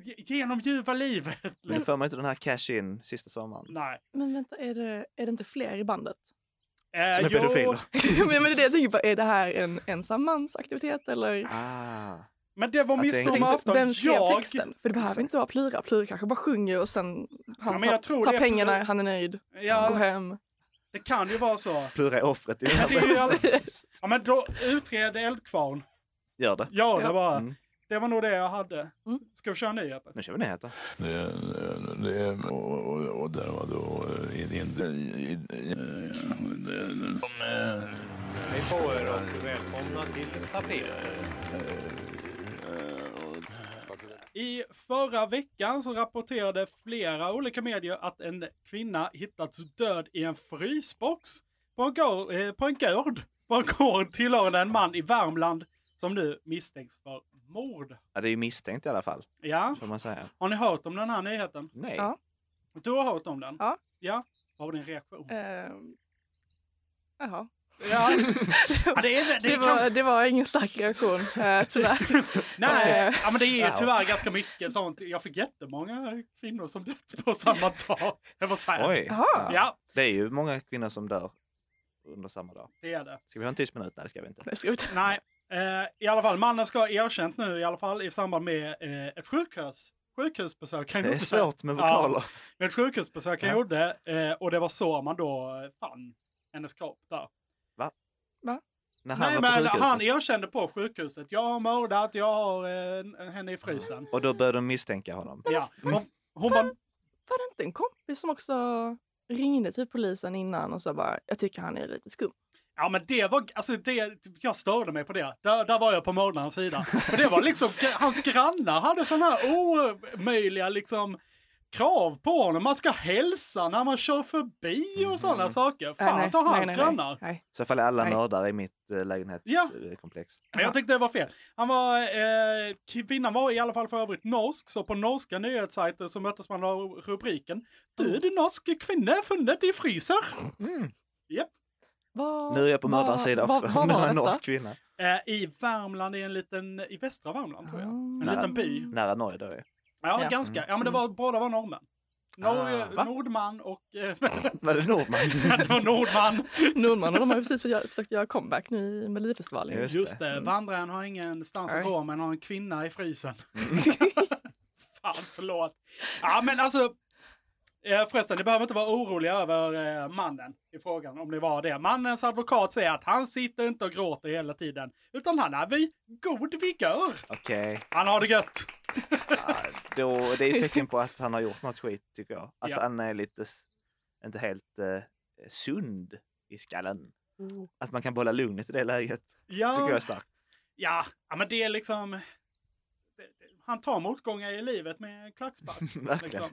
C: Ge- Genom ljuva livet! liksom.
B: Men du får mig inte den här cash-in sista sommaren.
C: Nej.
D: Men vänta, är det, är det inte fler i bandet?
C: Eh,
B: Som är
C: jo,
B: pedofiler.
D: men, men det är det jag tänker på, är det här en ensam mans aktivitet eller?
B: Ah.
C: Men det var
B: Jag tänkte-
C: midsommarafton.
D: Vem skrev
C: Jag...
D: texten? För det behöver
B: Exakt.
D: inte vara Plura. Plura kanske bara sjunger och sen
C: Ja,
D: han
C: men jag tror
D: tar,
C: det
D: tar
C: är
D: pengarna,
C: Plura.
D: han är nöjd, går
C: Ja,
D: hem.
C: det kan ju vara så.
B: Plura är offret i den här
C: Men det är ju
B: berättelsen.
C: alla- Ja, men då utred Eldkvarn.
B: Gör det.
C: Ja, det
D: Ja.
C: var,
B: Mm.
C: det var nog det jag hade. Ska vi köra nyheter?
B: Nu kör vi nyheter.
J: Det, det, och, och, och där var då... eh, inte- i- i- eh,
I: Hej på er och välkomna till tapeten.
C: I förra veckan så rapporterade flera olika medier att en kvinna hittats död i en frysbox på en gård, eh, på en gård, på en gård tillhörande en man i Värmland som nu misstänks för mord.
B: Ja, det är ju misstänkt i alla fall,
C: Ja,
B: får man säga.
C: har ni hört om den här nyheten?
B: Nej.
D: Ja.
C: Du har hört om den?
D: Ja.
C: Ja, vad var din reaktion?
D: Ehm, Jaha.
C: Ja, ja det är, det
D: Det
C: är kan...
D: var, det var ingen stark reaktion, eh, tyvärr.
C: Nej, ja, men det är
B: Ja.
C: tyvärr ganska mycket sånt. Jag fick jättemånga kvinnor som dött på samma dag. Det var sad.
B: Oj.
D: Jaha.
C: Ja,
B: Det är ju många kvinnor som dör under samma dag.
C: det är det.
B: Ska vi ha en tyst minut? Nej, det ska vi inte.
D: Nej, ska vi ta-
C: Nej, Eh, I alla fall, mannen ska ha erkänt nu i alla fall i samband med eh, ett sjukhus. Sjukhusbesök han
B: Det är
C: gjorde.
B: svårt med
C: Ja.
B: vokaler.
C: Med ett sjukhusbesök han
B: Ja.
C: gjorde eh, och det var så man då eh, fann hennes kropp där.
B: När han
C: Nej
B: var på
C: men
B: sjukhuset.
C: han erkände på sjukhuset. Jag har mördat, jag har eh, en- henne i frysen.
B: Och då började de misstänka honom.
C: Ja. Hon, hon var...
D: Var det inte en kompis som också ringde till polisen innan och sa bara jag tycker han är lite skum?
C: Ja men det var, alltså det, jag störde mig på det. Där, där var jag på mördarens sida. För det var liksom, hans grannar hade sådana här omöjliga liksom krav på honom. Man ska hälsa när man kör förbi och sådana saker.
D: Äh,
C: Fan
D: nej,
C: ta
D: nej,
C: hans
D: nej, nej,
C: grannar.
D: Nej.
B: Så fall är alla
D: Nej.
B: mördare i mitt eh,
C: Ja.
B: lägenhetskomplex.
C: Men Jag tyckte det var fel. Han var, eh, kvinnan var i alla fall för övrigt norsk, så på norska nyhetssajter så möttes man av rubriken
D: Mm.
C: Död norsk kvinna funnet i fryser. Japp.
D: Vad-
B: Nu är jag på
D: vad-
B: mördarens sida
D: vad-
B: också.
D: vad
B: Men
D: var
B: han är en
D: detta?
B: norsk kvinna.
C: Eh, I Värmland, i en liten, i västra Värmland tror jag. En
B: Ah.
C: liten by.
B: Nära Norge då är.
C: Ja,
D: Ja.
C: ganska. Ja, men det
B: Mm.
C: var, båda var norrmän.
B: Ah,
C: Norge,
D: va?
C: Nordman och... Eh,
B: Var det Nordman?
C: det var Nordman.
D: Norrmannen, de har ju precis för- försökt göra comeback nu i Melodifestivalen.
B: Just
C: Just,
B: det.
C: det, vandraren har ingenstans att
D: Nej.
C: gå men har en kvinna i frysen. Fan, förlåt. Ja, men alltså. eh, Förresten, ni behöver inte vara oroliga över eh, mannen i frågan, om det var det. Mannens advokat säger att han sitter inte och gråter hela tiden, utan han är vid god vigör.
B: Okej.
C: Han har det gött.
B: Ja, då- det är ett tecken på att han har gjort något skit tycker jag. Att
C: Ja.
B: han är lite, s- inte helt eh, sund i skallen.
D: Mm.
B: Att man kan behålla lugnet i det läget tycker jag är
C: Ja,
B: starkt.
C: ja, ja men det är liksom... det- det- Han tar motgångar i livet med en klackspark.
B: Verkligen.
C: liksom.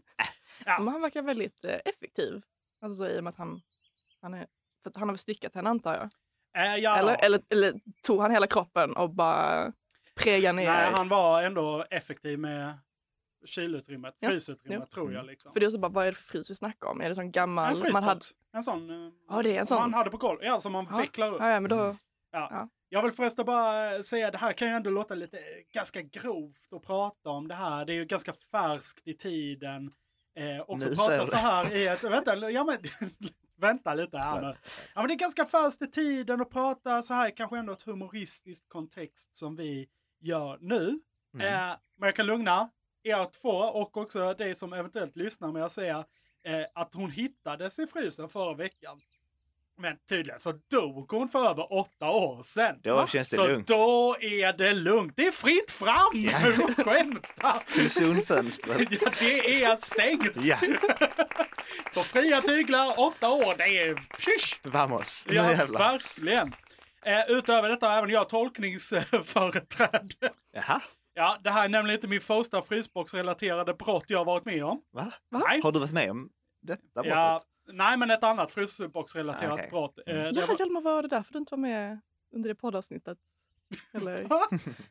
D: Men han verkar väldigt eh, effektiv. Alltså så i och med att han, han är... För att han har väl styckat henne antar jag?
C: Eh, ja,
D: Eller, eller, eller tog han hela kroppen och bara pregade ner?
C: Nej, han var ändå effektiv med kylutrymmet,
D: Ja.
C: frysutrymmet
D: Ja.
C: tror jag. Liksom.
D: För det är så bara, vad är det för frys vi snackar om? Är det sån
C: en
D: gammal?
C: frysbox.
D: Man hade,
C: En sån. eh,
D: Ja, det är en
C: som
D: sån.
C: Man Mm. hade på golvet. Ja, som man
D: Ja.
C: vecklar upp.
D: ja, ja, men då,
C: Jag vill förresten bara eh, säga, det här kan ju ändå låta lite eh, ganska grovt att prata om det här. Det är ju ganska färskt i tiden. Eh, också
B: Nu säger
C: prata
B: du.
C: så här i ett... Vänta, ja, men, vänta lite här nu. Ja, men det är ganska färskt i tiden att prata så här i kanske ändå ett humoristiskt kontext som vi gör nu.
B: Mm.
C: Eh, men jag kan lugna er två och också dig som eventuellt lyssnar med att säga eh, att hon hittades i frysen förra veckan. Men tydligen så dog hon för över åtta år sedan.
B: Då
C: Va?
B: känns det
C: så
B: lugnt.
C: då är det lugnt. Det är fritt fram! Hon skämtar!
B: Till zonfönstret.
C: Ja, det är stängt!
B: Ja,
C: Så fria tyglar, åtta år, det är... Tjish!
B: vamos. Nu
C: Ja,
B: jävlar.
C: verkligen. Eh, utöver detta har även jag tolkningsföreträde.
B: Jaha,
C: Ja, det här är nämligen inte min första frysboxrelaterade brott jag har varit med om.
B: va?
C: Nej.
B: Har du varit med om detta brottet? Ah,
C: Ja, nej, men ett annat frysboxrelaterat
B: Okej. Mm.
C: brott. Eh, det
D: ja,
C: var-
D: Hjalmar, var det därför du inte var med under det poddavsnittet? Eller?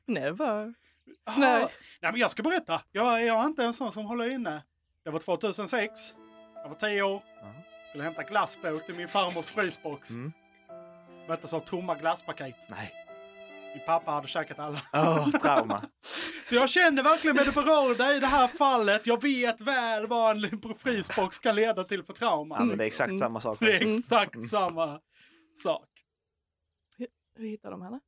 D: Nej, bara...
C: Ah,
D: Nej.
C: nej, men jag ska berätta. Jag, jag är inte en sån som håller inne. Det var 2006. Jag var 10 år. Skulle hämta glassbåt i min farmors frysbox.
B: Mm.
C: Möttes av tomma glasspaket.
B: Nej.
C: Min pappa hade käkat alla.
B: Åh, trauma.
C: Så jag känner verkligen med det berörda i det här fallet. Jag vet väl vad en frysbox kan leda till för trauma.
B: Ja, men det är
C: liksom.
B: exakt samma sak.
C: Det är exakt samma sak.
D: Hur hittade de henne?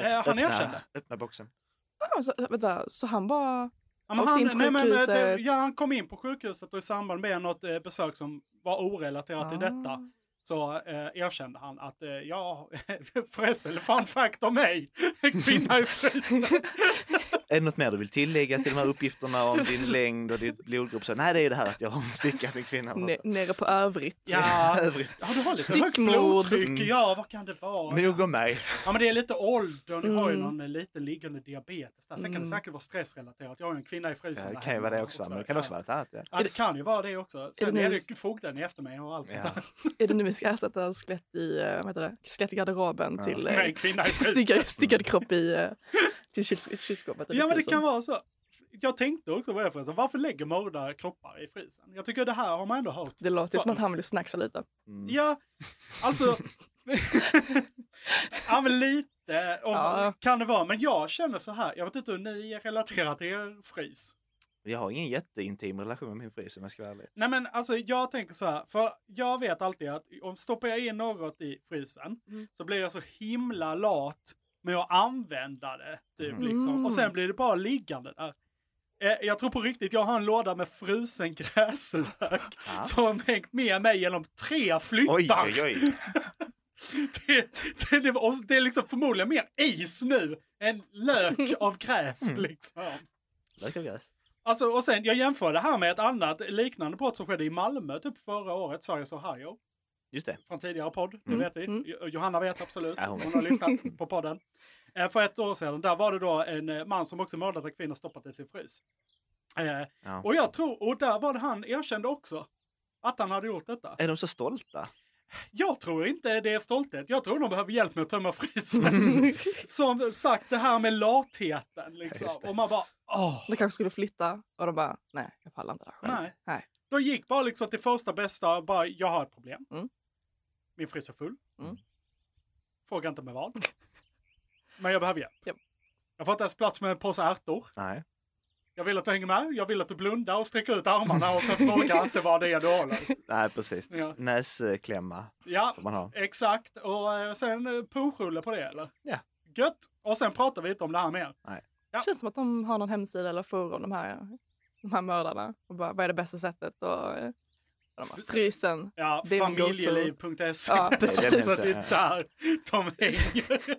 C: Eh, han
B: Öppna-
C: erkände.
B: Öppna boxen.
D: Ah, så, vänta, så han bara...
C: Ja, men
D: Åkte in
C: han,
D: på
C: nej, men, eh, det,
D: sjukhuset.
C: ja, han kom in på sjukhuset och i samband med något eh, besök som var orelaterat till detta
B: Ah.
C: så eh, erkände han att eh, ja, förresten, fun fact om mig, en kvinna i frysen.
B: Är det något mer du vill tillägga till de här uppgifterna om din längd och din blodgrupp? Så, nej, det är ju det här att jag har styckat en kvinna.
D: Ne- nere på övrigt.
C: Ja,
B: Övrigt.
C: ja, du har lite högt
D: Stickmord.
C: blodtryck,
B: Mm.
C: ja, vad kan det vara?
B: Nog om mig.
C: Ja, men det är lite åldern, du har ju
D: Mm.
C: någon eh, liten liggande diabetes där. Sen kan det
D: Mm.
C: säkert vara stressrelaterat, jag har ju en kvinna i
B: Ja,
C: frysen.
B: Det
C: där
B: Eh, kan ju vara
C: hemma
B: det också, men det kan
C: Ja.
B: också vara något annat. Ja.
C: Ja, det kan ju vara det också. Sen
D: det
C: är
D: nu-
C: det fogden i efter mig och allt sånt
B: Ja.
C: där.
D: Är det nu vi ska ersätta skelett i, eh, vad heter det? Skelett i garderoben
B: Ja.
D: till
C: Med
D: eh,
C: en kvinna i frysen.
D: stickad, stickad kropp i, eh, till kyls- i kylskåpet? eller
C: Ja men det
D: frysen?
C: kan vara så. Jag tänkte också på det förresten. Varför lägger mördare kroppar i frysen? Jag tycker det här har man ändå hört.
D: Det låter ju som
C: Fan.
D: att han vill snacksa lite.
B: Mm.
C: Ja, alltså. ja men lite om,
D: Ja.
C: kan det vara. Men jag känner så här. Jag vet inte hur ni relaterar till er frys.
B: Jag har ingen jätteintim relation med min frys om jag ska vara ärlig.
C: Nej men alltså jag tänker så här. För jag vet alltid att om stoppar jag in något i frysen så blir jag så himla lat men jag använder det. Typ,
B: Mm.
C: liksom. Och sen blir det bara liggande där. Eh, Jag tror på riktigt, jag har en låda med frusen gräslök
B: Ja.
C: som har hängt med mig genom tre flyttar.
B: Oj, oj, oj.
C: Det, det, det, och det är liksom förmodligen mer is nu än lök av gräs.
B: Mm.
C: Liksom.
B: Lök och gräs.
C: Alltså, och sen, jag jämför det här med ett annat liknande brott som skedde i Malmö typ förra året, Sveriges Ohio,
B: Just det.
C: från tidigare podd. Det
B: Mm.
C: vet vi. Jo- Johanna vet absolut.
B: Ja, hon
C: hon
B: vet.
C: har lyssnat på podden. Eh, för ett år sedan, där var det då en eh, man som också mördat en kvinna och stoppat i sin frys. Eh,
B: Ja.
C: och jag tror, och där var det han erkände också att han hade gjort detta.
B: Är de så stolta?
C: Jag tror inte det är stolthet. Jag tror de behöver hjälp med att tömma frysen. Som sagt, det här med latheten. Liksom.
B: Just det.
C: Och man bara, åh,
D: De kanske skulle flytta och de bara, nej, jag pallar inte det här själv.
C: nej.
D: Nej.
C: De gick bara liksom till första bästa, bara, jag har ett problem.
D: Mm.
C: Min frys är full.
D: Mm.
C: Fråga inte med vad. Men jag behöver hjälp.
D: Japp.
C: Jag får inte ens plats med en påse ärtor.
B: Nej.
C: Jag vill att du hänger med, jag vill att du blundar och sträcker ut armarna och sen frågar inte vad det är du håller.
B: Nej, precis.
C: Ja.
B: Näsklämma
C: Ja,
B: får man ha.
C: Exakt, och eh, sen eh, pushrulle på det eller?
B: Ja.
C: Gött! Och sen pratar vi inte om det här mer. Ja.
D: känns som att de har någon hemsida eller forum, de här, de här mördarna. Och bara, vad är det bästa sättet? Och, eh, och de bara, frysen.
C: Ja,
D: Det är min go-to.
C: familjeliv.se.
D: Ja,
B: Det är den
C: Så
B: hemsidan,
C: det
B: ja.
C: är där de hänger.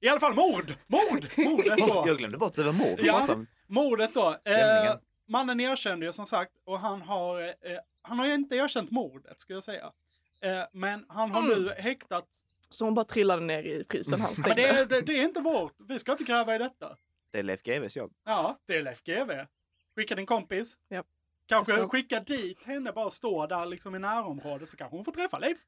C: I alla fall mord! Mord! Mordet
B: Jag
C: då.
B: glömde bort det var mord.
C: Ja.
B: Ja.
C: Mordet då. Eh,
B: Stämningen.
C: mannen erkände ju som sagt och han har, eh, han har ju inte erkänt mordet skulle jag säga. Eh, men han har
D: Mm.
C: nu häktat.
D: Så hon bara trillade ner i frysen han
C: Men
D: stängde.
C: det, är- det, det är inte vårt. Vi ska inte gräva i detta.
B: Det är Leif GWs jobb.
C: Ja, det är Leif GW. Skicka din kompis.
D: Japp.
C: Kanske
D: Jag ska-
C: skicka dit henne, bara stå där liksom i närområdet så kanske hon får träffa Leif.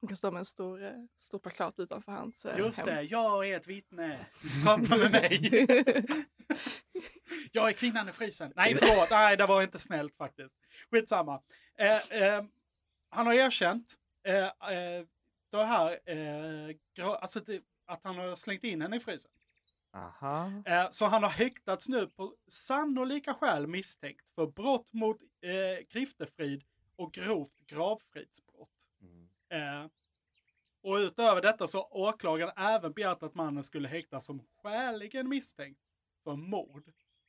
D: Hon kan stå med en stor, eh, stor plakat utanför hans eh,
C: Just
D: hem.
C: det, jag är ett vittne. Prata med mig. Jag är kvinnan i frysen. Nej, förlåt. Nej, det var inte snällt faktiskt. Skitsamma. Eh, eh, han har erkänt eh, eh, det här, eh, gra- alltså det, att han har slängt in henne i frysen.
B: Aha.
C: Eh, Så han har häktats nu på sannolika skäl misstänkt för brott mot eh, griftefrid och grovt gravfridsbrott.
B: Mm.
C: Eh, och utöver detta så har åklagaren även begärt att mannen skulle häktas som skäligen misstänkt för mord.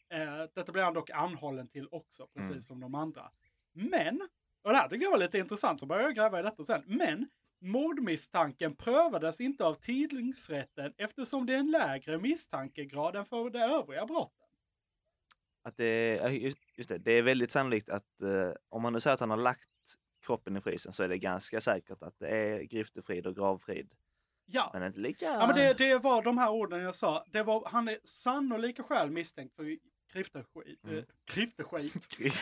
C: Eh, detta blev han dock anhållen till också, precis
B: Mm.
C: som de andra. Men, och det här tyckte jag var lite intressant, så började jag gräva i detta sen. Men, mordmisstanken prövades inte av tidningsrätten eftersom det är en lägre misstankegrad än för de övriga brotten.
B: Att det, är- ja, just, just det, det är väldigt sannolikt att eh, om man nu säger att han har lagt kroppen i frysen så är det ganska säkert att det är griftefrid och gravfrid.
C: Ja.
B: Men inte lika...
C: Ja, men det, det var de här orden jag sa. Det var, han är sannolika skäl misstänkt för grifteskit.
B: Mm.
C: Eh, grifteskit.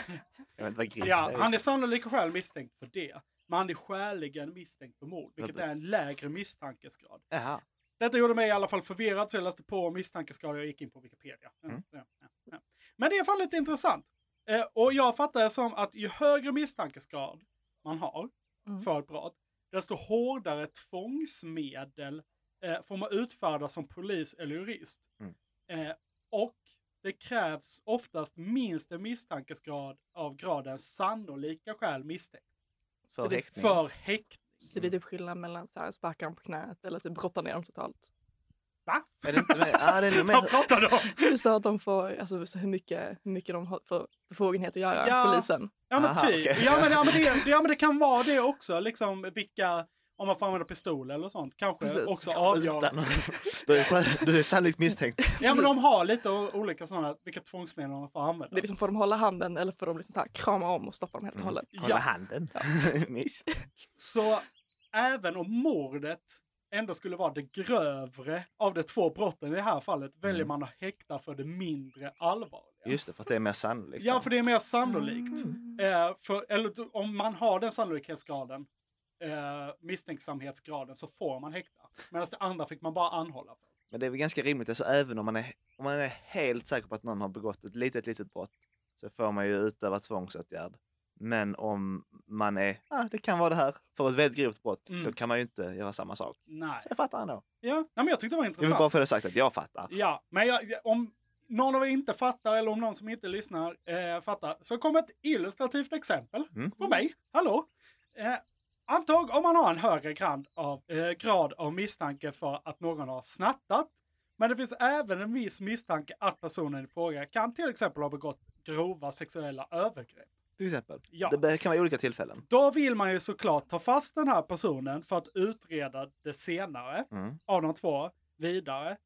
B: Jag vet inte vad grift
C: ja,
B: är.
C: han är sannolika skäl misstänkt för det. Men han är skäligen misstänkt för mord, vilket är en lägre misstankesgrad.
B: Jaha.
C: Detta gjorde mig i alla fall förvirrad, så jag läste på om misstankesgrad och jag gick in på Wikipedia. Ja,
B: Mm.
C: ja, ja, ja. Men det är fan lite intressant. Eh, och jag fattar det som att ju högre misstankesgrad man har
D: Mm.
C: för ett brott, desto hårdare tvångsmedel eh, får man utfärda som polis eller jurist.
B: Mm.
C: Eh, och det krävs oftast minst en misstankesgrad av graden sannolika skäl misstänkt.
B: För
D: det-
B: häktning.
C: För häkt...
D: Så det är typ skillnad mellan så här, sparka dem på knät eller typ brotta ner dem totalt.
C: Va?
B: Är det inte mer? Ja, det är nog
C: Vad
B: mer...
C: pratar du om?
D: Du sa att de får, alltså så hur mycket, hur mycket de har för befogenhet att göra,
C: Ja.
D: polisen.
C: Ja men
B: Aha,
C: typ.
B: okej.
C: Ja, men, ja, men det, det- ja men det kan vara det också. Liksom vilka, om man får använda pistol eller sånt, kanske
D: Precis.
C: också avgör.
B: Utan... Du, är, du är sannolikt misstänkt.
C: Ja men de har lite o- olika sådana, vilka tvångsmedel man får använda.
D: Det är liksom, får de hålla handen eller får de liksom så här, krama om och stoppa dem helt och hållet?
B: Kolla
C: Ja.
B: handen. Mys.
C: Så även om mordet ändå skulle vara det grövre av de två brotten i det här fallet, väljer
B: Mm.
C: man att häkta för det mindre allvarliga.
B: Just det, för att det Mm. är mer sannolikt.
C: Ja, för det är mer sannolikt. Eh, för, eller d- om man har den sannolikhetsgraden, eh, misstänksamhetsgraden, så får man häkta. Medan det andra fick man bara anhålla för.
B: Men det är väl ganska rimligt, alltså även om man, är, om man är helt säker på att någon har begått ett litet, litet brott så får man ju utöva tvångsåtgärd. Men om man är, ah, det kan vara det här, för ett väldigt grovt brott,
C: Mm.
B: då kan man ju inte göra samma sak.
C: Nej.
B: Så jag fattar ändå.
C: Ja, nej, men jag tyckte det var
B: Jag vill
C: intressant.
B: bara få det sagt att jag fattar.
C: Ja, men jag, jag- om någon av er inte fattar eller om någon som inte lyssnar eh, fattar så kom ett illustrativt exempel
B: Mm.
C: på mig. Hallå! Eh, Antag om man har en högre grad av, eh, grad av misstanke för att någon har snattat. Men det finns även en viss misstanke att personen i fråga kan till exempel ha begått grova sexuella övergrepp.
B: Till exempel.
C: Ja.
B: Det be- kan vara olika tillfällen.
C: Då vill man ju såklart ta fast den här personen för att utreda det senare
B: Mm.
C: av de två vidare.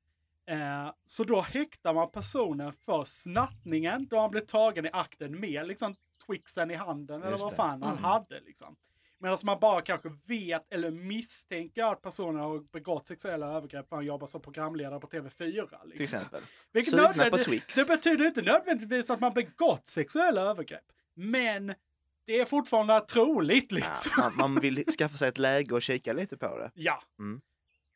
C: Eh, så då häktar man personen för snattningen då han blev tagen i akten med liksom twixen i handen eller
B: Just
C: vad
B: det.
C: fan han hade liksom. Medan man bara kanske vet eller misstänker att personen har begått sexuella övergrepp för han jobbar som programledare på TV4.
B: Till
C: Liksom.
B: exempel.
C: Vilket
B: Sugna på
C: nödvändigt-
B: Twix.
C: Det betyder inte nödvändigtvis att man begått sexuella övergrepp. Men det är fortfarande troligt
B: Ja,
C: liksom.
B: man, man vill skaffa sig ett läge och kika lite på det.
C: Ja.
B: Mm.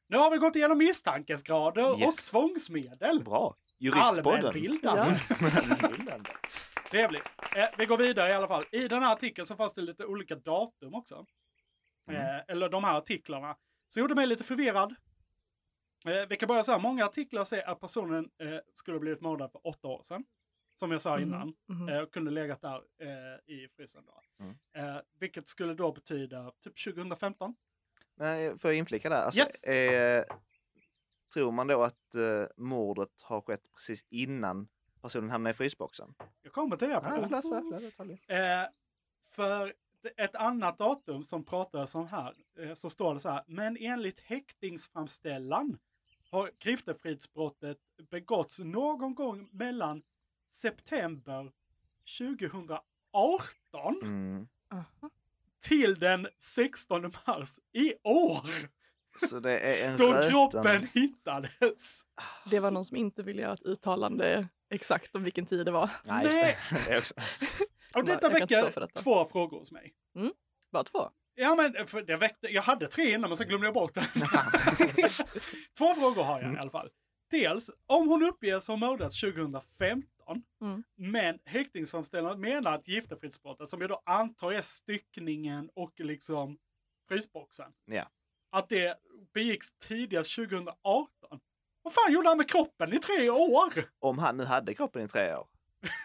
C: Nu har vi gått igenom misstankesgrader
B: Yes.
C: och tvångsmedel.
B: Bra. Juristpodden.
C: Allmänbildande.
B: Allmänbildande.
C: Trevligt. Eh, vi går vidare i alla fall. I den här artikeln så fanns det lite olika datum också.
B: Mm.
C: Eh, eller de här artiklarna. Så gjorde mig lite förvirrad. Eh, vi kan börja så här. Många artiklar säger att personen eh, skulle ha blivit mördad för åtta år sedan. Som jag sa
B: Mm.
C: innan.
D: mhm.
C: Eh, och kunde legat där eh, i frysen då.
B: Mm.
C: Eh, vilket skulle då betyda typ 2015.
B: Nej, får jag inflika där? Alltså,
C: Yes.
B: eh, tror man då att eh, mordet har skett precis innan personen hamnar i frysboxen?
C: Jag kommer till det. här.
B: Ah, förlåt, förlåt, förlåt, detaljer.
C: Eh, för ett annat datum som pratades om här, eh, så står det så här. Men enligt häktningsframställan har griftefridsbrottet begåtts någon gång mellan september 2018
B: Mm.
C: till den 16 mars i år.
B: Så det är en
C: Då
B: röten-
C: kroppen hittades.
D: Det var någon som inte ville göra ett uttalande exakt om vilken tid det var.
B: Nej, just
C: Nej.
B: det. det är också.
C: Och
D: Jag
C: detta
D: kan inte stå
C: väcker
D: för detta.
C: två frågor hos mig.
D: Bara två.
C: Ja, men för det väckte, jag hade tre innan men sen glömde jag bort den. Två frågor har jag i alla fall. Dels, om hon uppges ha mördats 2015,
D: Mm.
C: men häktningsframställan menar att giftefridsbrottet, som jag då antar är styckningen och liksom frysboxen,
B: Ja.
C: att det begicks tidigast 2018. Vad fan gjorde han med kroppen i tre år?
B: Om han nu hade kroppen i tre år.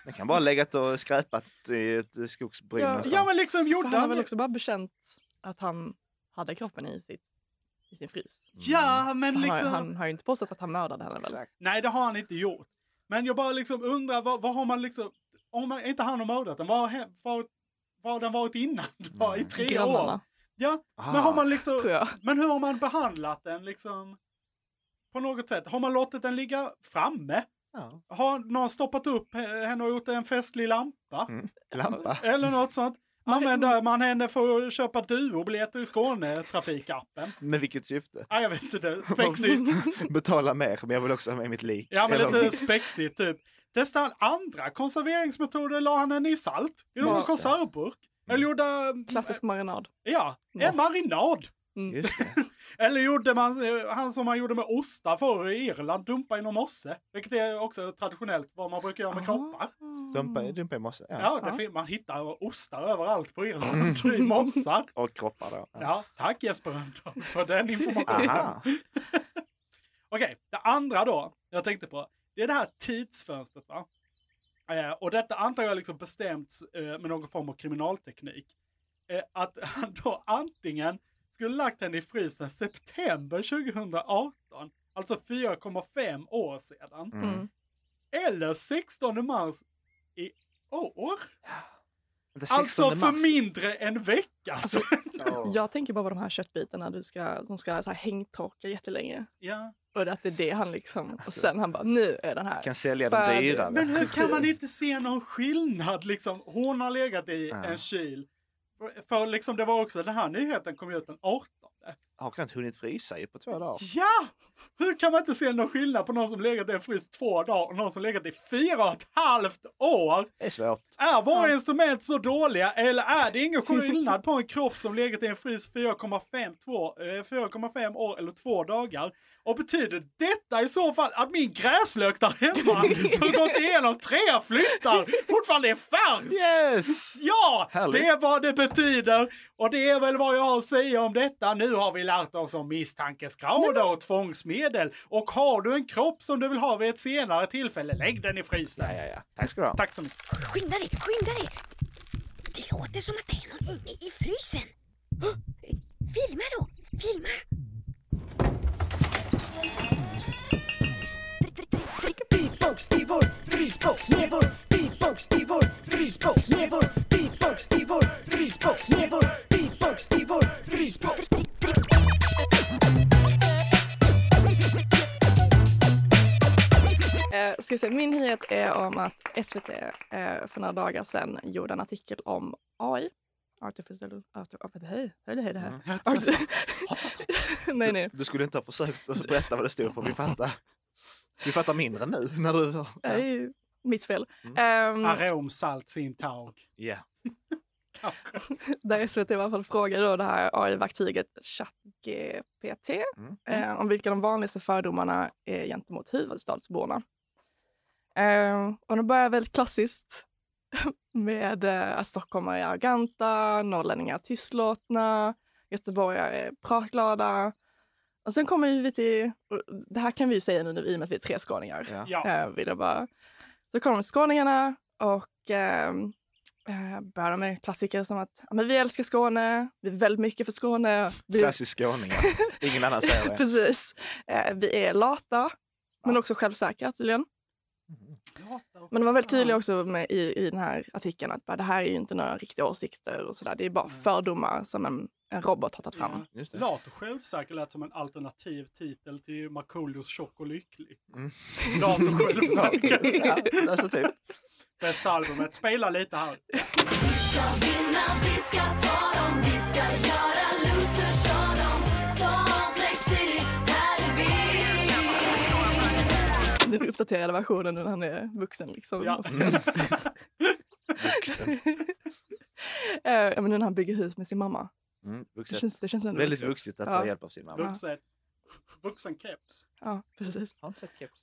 B: Den kan bara ha legat och skräpat i ett skogsbryn
D: Ja,
B: någonstans.
C: Ja, men liksom gjorde
D: För han har
C: han...
D: väl också bara bekänt att han hade kroppen i, sitt, i sin frys.
B: Mm.
C: Ja, men
D: Han,
C: liksom...
D: har, han har ju inte påstått att han mördade henne väl?
C: Nej, det har han inte gjort. Men jag bara liksom undrar, vad, vad har man liksom... Om man, inte han har mördat den, vad har, hä- vad, vad har den varit innan då? I tre år?
D: Grannarna,
C: Ja,
B: Ah,
C: men har man
D: tror
C: liksom...
D: jag.
C: Men hur har man behandlat den liksom? På något sätt? Har man låtit den ligga framme?
B: Ah, ja.
C: Har någon stoppat upp eh, henne och gjort en festlig lampa?
B: Mm. Lampa.
C: Eller något sånt? Använder man henne för att köpa duobiljetter i Skåne-trafikappen?
B: Med vilket syfte?
C: Nej, jag vet inte. Spexigt.
B: Betala mer, men jag vill också ha med mitt lik.
C: Ja, men
B: Eller
C: lite
B: mitt-
C: spexigt typ. Testade han andra konserveringsmetoder, la han den i salt i någon
D: Ja.
C: konservburk. Eller gjorde,
D: Klassisk marinad.
C: ja,
D: Ja.
C: en marinad.
B: Just det.
C: Eller gjorde man, eh, han som man gjorde med ostar förr i Irland, dumpa i någon mosse. Vilket är också traditionellt vad man brukar göra med kroppar.
B: Dumpa, dumpa i mossen. Ja.
C: Ja, det fin- man hittar ostar överallt på Irland, i mossar.
B: Och kroppar då. Ja.
C: Ja, tack Jesper Rönndahl för den informationen.
B: Aha.
C: Okej, det andra då jag tänkte på, det är det här tidsfönstret va? Eh, och detta antar jag liksom bestämts eh, med någon form av kriminalteknik. Eh, att han då antingen skulle lagt henne i frysen september 2018, alltså 4,5 år sedan,
B: Mm.
D: Mm.
C: eller 16 mars i år.
B: Det
C: Alltså
B: 16
C: för
B: mars.
C: mindre än vecka sedan.
B: Ja.
D: Jag tänker bara på de här köttbitarna du ska, som ska så här hängtorka jättelänge.
C: Ja.
D: Och att det är det han liksom... Och sen han bara, nu är den här
B: Alltså, Kan sälja den
D: färdig.
B: dyrare.
C: Men hur kan man
D: Precis.
C: inte se någon skillnad liksom? Hon har legat i
B: Ja.
C: en kyl. För- För liksom det var också, den här nyheten kom ju ut den 18.
B: Har knappt hunnit frysa ju på två dagar.
C: Ja! Hur kan man inte se någon skillnad på någon som legat i en frys två dagar och någon som legat i fyra och ett halvt år?
B: Det är svårt.
C: Är våra instrument så dåliga eller är det ingen skillnad på en kropp som legat i en frys 4,5 två- eh, 4,5 år eller två dagar? Och betyder detta i så fall att min gräslök där hemma som gått igenom tre flyttar fortfarande är färsk?
B: Yes!
C: Ja,
B: Härligt.
C: det är vad det betyder. Och det är väl vad jag har att säga om detta. Nu har vi lärt oss om misstankesgrader och tvångsmedel. Och har du en kropp som du vill ha vid ett senare tillfälle, lägg den i frysen.
B: Ja, ja, ja. Tack ska du ha.
C: Tack så mycket.
K: Skynda dig, skynda dig! Det låter som att det är någon inne i frysen. Filma då! Filma! Beatbox i vår frysbox med vår beatbox i vår frysbox med vår beatbox i vår frysbox med vår beatbox i vår frysbox.
D: Eh, ska vi se, min nyhet är om att SVT eh, för några dagar sedan gjorde en artikel om AI. Artificial... Arti, hej, hörde hej det här? Arti- nej, nej.
B: Mm. Du skulle inte ha försökt att berätta vad det stod för. Vi fattar. Vi fattar mindre nu när du... Ja. Mm.
D: Det är ju mitt fel. Ehm,
C: Arom, salt, sin taug.
B: Ja.
D: där SVT i alla fall frågar då det här AI-verktyget ChatGPT
B: Mm.
D: eh, om vilka de vanligaste fördomarna är gentemot huvudstadsborna. Eh, och de börjar väldigt klassiskt med eh, att stockholmare är arroganta, norrlänningar är tystlåtna, göteborgare är pratglada. Och sen kommer ju vi till, och det här kan vi ju säga nu i och med att vi är tre skåningar,
B: Ja.
C: Ja.
D: eh, vill jag bara. Så kommer skåningarna och ehm, eh, börjar med klassiker som att ja, men vi älskar Skåne, vi är väldigt mycket för Skåne. Vi,
B: Klassisk skåning. ja. Ingen annan säger det.
D: precis. Eh, vi är lata, men också självsäkra tydligen.
C: Mm,
D: Men de var väldigt tydliga också med, i, i den här artikeln att bara, det här är ju inte några riktiga åsikter och sådär. Det är bara fördomar som en, en robot har tagit fram.
C: Ja.
B: Just det.
C: Lat och självsäker lät som en alternativ titel till Markoolios Tjock och lycklig.
B: Mm.
C: Lat och självsäker.
B: Ja, alltså typ.
C: Bästa albumet. Spela lite här.
D: Den uppdaterade versionen när han är vuxen liksom.
C: Ja.
D: Och förstås. Eh, ja, men nu när han bygger hus med sin mamma.
B: Mm,
D: Det
B: vuxet.
D: känns, det känns ändå
B: Väldigt vuxet att ta
D: Ja.
B: hjälp av sin mamma.
C: Vuxet. Vuxen keps.
D: Ja, precis.
B: Har inte sett keps.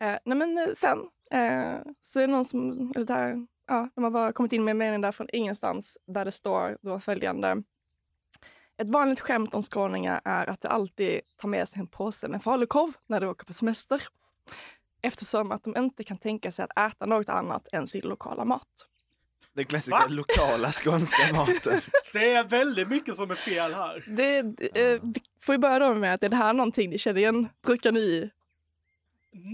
D: Eh, nej men eh, sen eh, så är det någon som, eller där, ja, de har bara kommit in med en mening där från ingenstans där det står då följande. Ett vanligt skämt om skåningar är att de alltid tar med sig en påse med falukorv när de åker på semester. Eftersom att de inte kan tänka sig att äta något annat än sin lokala mat.
B: Den klassiska
C: Va?
B: lokala skånska maten.
C: Det är väldigt mycket som är fel här.
D: Det, det, eh, vi får ju börja då med att är det här någonting ni känner igen? Brukar ni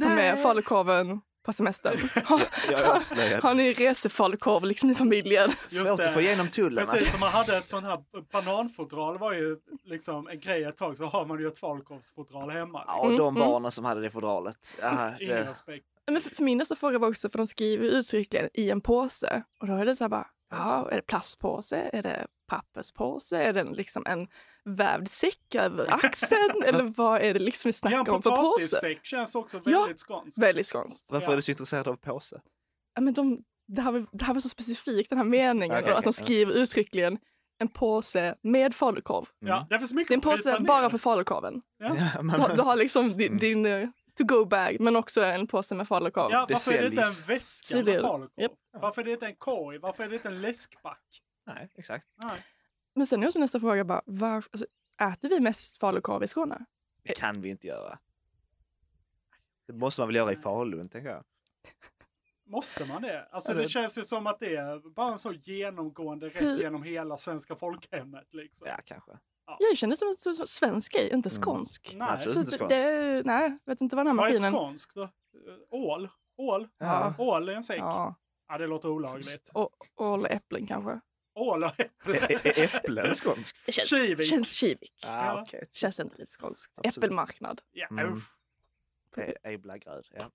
D: ta med
C: Nej!
D: falukorven på semestern? Har,
B: Jag är avslöjad.
D: har ni resefalukorv liksom i familjen?
C: Just
B: Svårt
C: det.
B: att få igenom tullen.
C: Precis som man hade ett sån här bananfodral var ju liksom en grej ett tag så har man ju ett falukorvsfodral hemma.
B: Ja, och de barnen som hade det fodralet. Ja,
C: Ingen
B: det,
C: respekt.
D: Ja, Men för, för min nästa fråga var också, för de skriver ju uttryckligen i en påse. Och då är det så här bara, ja, är det plastpåse? Är det papperspåse? Är det en- liksom en vävd säck över axeln? Eller vad är det liksom vi
C: Ja, en
D: snackar om för påse?
C: potatissäck känns också
D: Ja.
C: väldigt skånskt.
D: Väldigt skånskt.
B: varför är du så intresserad av påse?
D: Ja, men de, det, här var, det här var så specifikt, den här meningen,
B: Okej,
D: då, att de
B: okej.
D: skriver uttryckligen en påse med falukorv.
C: Ja, det är för så mycket
D: Det är en
C: att bryta
D: påse
C: ner.
D: bara för falukorven.
B: Ja,
D: Du, har-
B: men, Mm.
D: du har liksom din, din eh, to-go-bag, men också en påse med falukorv.
C: Ja,
B: det
C: varför är det inte en
B: säljs.
C: väska med
D: Tydligen.
C: falukorv?
D: Japp.
C: Varför är det inte en korg? Varför är det inte en läskback?
B: nej, exakt.
C: Nej.
D: Men sen är också nästa fråga bara, varför, alltså, äter vi mest falukorv i Skåne?
B: Det kan vi inte göra. Det måste man väl göra i Falun, tänker jag.
C: Måste man det? Alltså
B: Eller-
C: det känns ju som att det är bara en så genomgående rätt
D: Hur-
C: genom hela svenska folkhemmet liksom.
B: Ja, kanske.
D: Jag känner som en så- så svensk grej, inte
B: Mm.
D: skånsk.
C: Nej.
B: Absolut.
D: Så
B: inte
D: det,
B: skånsk.
D: det, nej, vet inte vad den här
C: Vad är
D: maskinen...
C: skånskt då? Eh, Ål? Ål?
B: Ja.
C: Ål i en säck? Ja.
D: Ja,
C: det låter olagligt.
D: och, och äpplen kanske.
C: Ål och
B: Ä- ä- ä- Äpplen skånskt?
D: Det känns,
C: Kivik.
D: känns kivik.
B: Ah, okej.
D: Känns ändå lite skånskt.
B: Absolut.
D: Äppelmarknad.
C: Ja,
B: Mm.
C: uff.
B: Ä- Äbbla gröd, ja.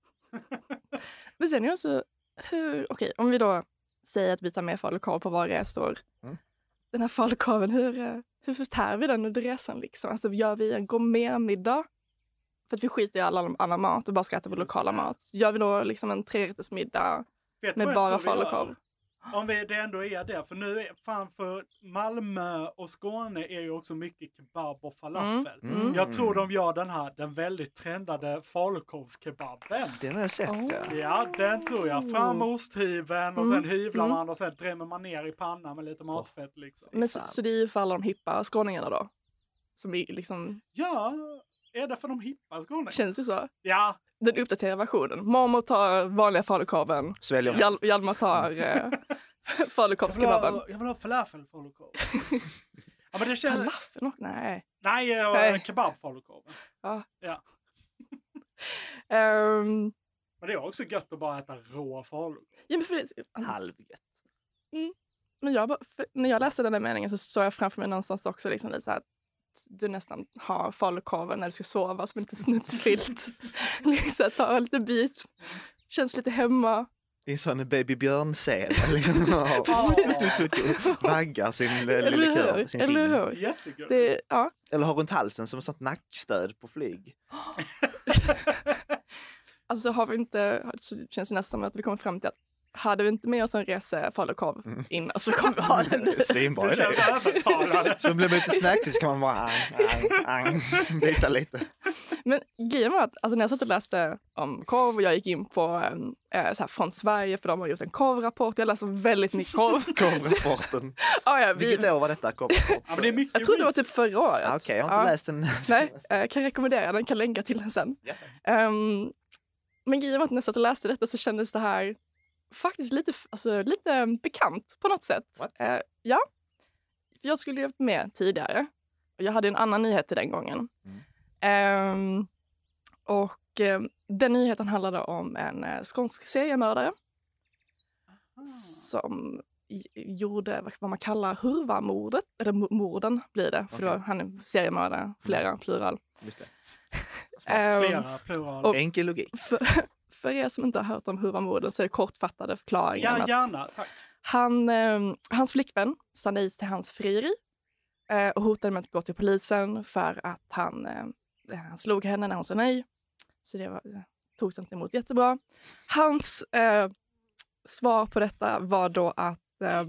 D: Men sen är det också hur, okej om vi då säger att vi tar med falukorv på våra resor.
B: Mm.
D: Den här falukorven, hur, eh, hur förtär vi den under resan liksom? Alltså gör vi en gourmetmiddag? För att vi skiter i all annan- annan mat och bara ska äta vår
C: Just
D: lokala
C: det.
D: mat. Gör vi då liksom en trerättersmiddag?
C: Vet
D: Med
C: vad jag
D: bara
C: tror vi gör?
D: falukorv.
C: Om vi, det ändå är det, för nu är fan för Malmö och Skåne är ju också mycket kebab och falafel.
B: Mm. Mm.
C: Jag tror de gör den här, den väldigt trendade falukorvskebaben.
B: Den har jag sett, ja.
C: Ja, den tror jag. Fram med osthyveln och sen
D: Mm.
C: hyvlar
D: Mm.
C: man och sen drämmer man ner i pannan med lite matfett liksom.
D: Men så, så det är ju för alla de hippa skåningarna då? Som är liksom,
C: Ja, är det för de hippa Skåne?
D: känns ju så.
C: Ja,
D: Den uppdaterade versionen. Marmor tar vanliga falukorven.
B: Sväljer
D: Hjal- Hjalmar tar eh,
C: jag vill
D: falukorvskebaben.
C: ha, jag vill ha falafel falukorv. Ja, men det känns...
D: Falafel? och- Nej.
C: Nej, eh,
D: Nej.
C: kebabfalukorv.
D: Ja.
C: Ja.
D: Ehm,
C: Men det är också gött att bara äta rå falukorv.
D: ja, men, för
B: Mm.
D: det,
B: Halvgött.
D: men jag, bara- för, när jag läste den där meningen så såg jag framför mig någonstans också liksom lite så här, att du nästan har falukorven när du ska sova som inte snuttfilt. liksom, ta lite bit. Känns lite hemma.
B: Det är en sån Baby Björn-scen. Liksom, så. Vaggar sin eh, lille
D: Eller
B: kör. Sin
D: hur? Eller
B: film.
D: hur?
C: Jättegött.
D: Det, ja.
B: Eller har runt halsen som ett sånt nackstöd på flyg.
D: Alltså har vi inte, så känns det nästan som att vi kommer fram till att hade vi inte med oss en resa falukorv innan så kommer vi ha den nu.
B: Mm, Svinbra
C: Det
B: idé.
C: känns övertalande.
B: Så blir man lite snacksig så kan man bara ang, ang, ang, bita lite.
D: Men grejen var att alltså, när jag satt och läste om korv och jag gick in på em, eh, så här, Från Sverige för de har gjort en korvrapport. Jag läste väldigt mycket korv.
B: Korvrapporten.
D: ja, ja, vi,
B: Vilket år var detta? Korvrapporten?
C: Ja, men det är mycket
D: jag tror det var
C: whisky.
D: typ förra året.
B: Ah, Okej, jag har inte
D: Ja.
B: läst den.
D: Nej, eh, kan rekommendera den, kan länka till den sen.
B: Ja,
D: Ehm, men grejen var att när jag satt och läste detta så kändes det här faktiskt lite, f- alltså, lite eh, bekant på något sätt.
B: What?
D: Eh, ja. För jag skulle ju varit med tidigare. Och jag hade en annan nyhet till den gången.
B: Mm.
D: Ehm, och eh, den nyheten handlade om en eh, skånsk seriemördare som i- gjorde vad- vad man kallar Hurva-mordet. Eller mo- morden blir det, för
B: Okej. Mm.
D: då, han är seriemördare, flera, plural.
B: Just det.
D: Ehm,
C: Flera plural.
D: och-
B: Enkel logik.
D: för, för er som inte har hört om Hurva-morden så är det kortfattade förklaringen.
C: Ja,
D: att
C: gärna. Tack.
D: han, eh, hans flickvän sa nej till hans frieri eh, och hotade med att gå till polisen för att han, eh, han slog henne när hon sa nej. Så det var, togs inte emot jättebra. Hans eh, svar på detta var då att eh,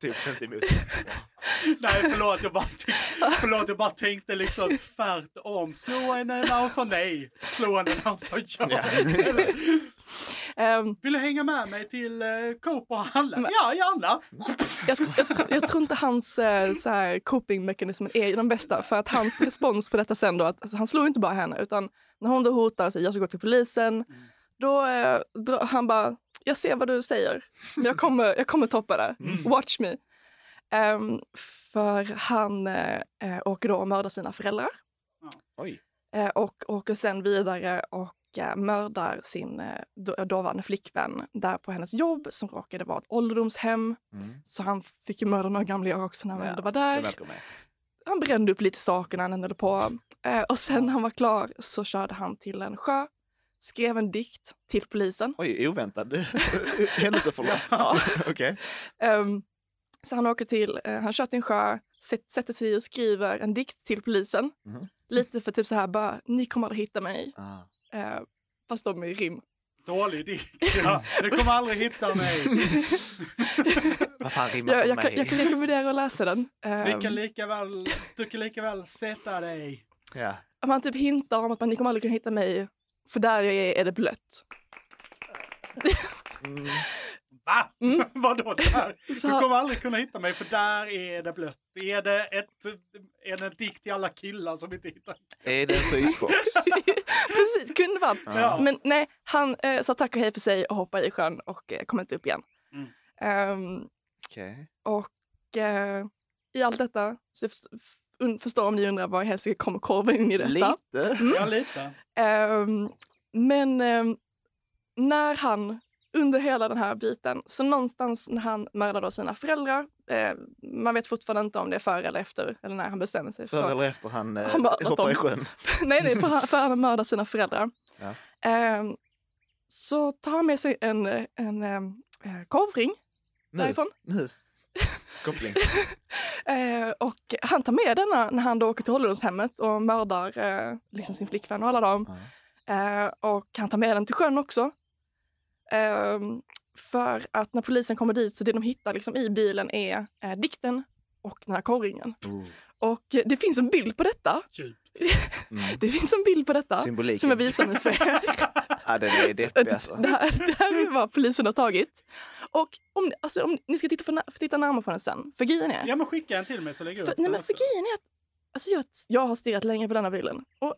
B: Typ inte emot.
C: Nej, förlåt. Jag bara, tyck, förlåt, jag bara tänkte liksom tvärtom. Slå henne när hon sa nej. Slå henne när hon sa ja.
B: Ja.
D: ehm,
C: Vill du hänga med mig till eh, Coop och handla? Ja, gärna.
D: jag, tr- jag, tr- jag tror inte hans eh, så här copingmekanismen är den bästa. För att hans respons på detta sen då, att alltså, han slog inte bara henne utan när hon då hotar och säger jag ska gå till polisen, då eh, drar han bara, jag ser vad du säger, men jag kommer, jag kommer toppa det, watch me. Ehm, för han eh, eh, åker då och mördar sina föräldrar
B: Oj.
D: eh, och åker sen vidare och eh, mördar sin eh, då, dåvarande flickvän där på hennes jobb som råkade vara ett ålderdomshem.
B: Mm.
D: Så han fick ju mörda några gamlingar också när han
B: Ja,
D: ändå var
B: Det
D: där.
B: verkar med.
D: Han brände upp lite saker när han ändå höll på. Eh, och sen när han var klar så körde han till en sjö, skrev en dikt till polisen.
B: Oj, oväntad händelseförlopp.
D: Ja.
B: Okej.
D: Ehm, så han åker till, eh, han kör till en sjö, sätt, sätter sig och skriver en dikt till polisen.
B: Mhm.
D: Lite för typ så här bara, ni kommer aldrig hitta mig.
B: Ah.
D: Eh, fast de är i rim.
C: Dålig dikt. Ja, du kommer aldrig hitta mig.
B: Vad fan rimmar
D: Jag,
B: på
D: jag,
B: mig?
D: kan, jag kan rekommendera att läsa den.
C: Vi
D: Ehm,
C: kan lika väl, du kan lika väl sätta dig.
B: Ja.
D: att man typ hintar om att man, ni kommer aldrig kunna hitta mig, för där jag är är det blött.
B: Mm.
C: Va?
D: Mm.
C: Vadå där?
D: Så
C: Du
D: han-
C: kommer aldrig kunna hitta mig för där är det blött. Är det, ett, är det en dikt till alla killar som inte hittar?
B: Är det en frysbox?
D: Precis, kunde varit.
C: Ja.
D: Men nej, han eh, sa tack och hej för sig och hoppade i sjön och eh, kom inte upp igen.
C: Mm.
D: Ehm,
B: Okej.
D: och eh, i allt detta, så jag först- f- un- förstår om ni undrar var i helsike kommer korven in i detta.
B: Lite.
C: Ja, lite.
D: Ehm, men ehm, när han, under hela den här biten, så någonstans när han mördar då sina föräldrar, eh, man vet fortfarande inte om det är före eller efter, eller när han bestämmer sig. så.
B: Före eller efter han, eh,
D: Han mördat
B: hoppar i
D: dem.
B: sjön.
D: nej, nej, för han, för han har mördat sina föräldrar.
B: Ja.
D: Ehm, så tar han med sig en, eh, en ehm, eh, korvring
B: Nu.
D: därifrån.
B: nu. Koppling.
D: Eh, och han tar med denna när han då åker till ålderdomshemmet och mördar eh, liksom sin flickvän och alla dem.
B: Ja.
D: Eh, och han tar med den till sjön också. Ehm, för att när polisen kommer dit så det de hittar liksom i bilen är eh, dikten och den här korvringen.
B: Oh.
D: Och eh, det finns en bild på detta.
C: Djupt.
B: Mm.
D: Det finns en bild på detta
B: Symboliken.
D: som jag visar nu för er.
B: Ja, den är deppig alltså.
D: Det här, det här är vad polisen har tagit. Och om, alltså, om ni ska titta, för, na- titta närmare på den sen. För grejen är...
C: Ja, men skicka en till mig så lägger jag
D: för,
C: upp
D: nej,
C: den
D: men för
C: också.
D: grejen är att alltså, jag, jag har stirrat länge på denna bilden. Och,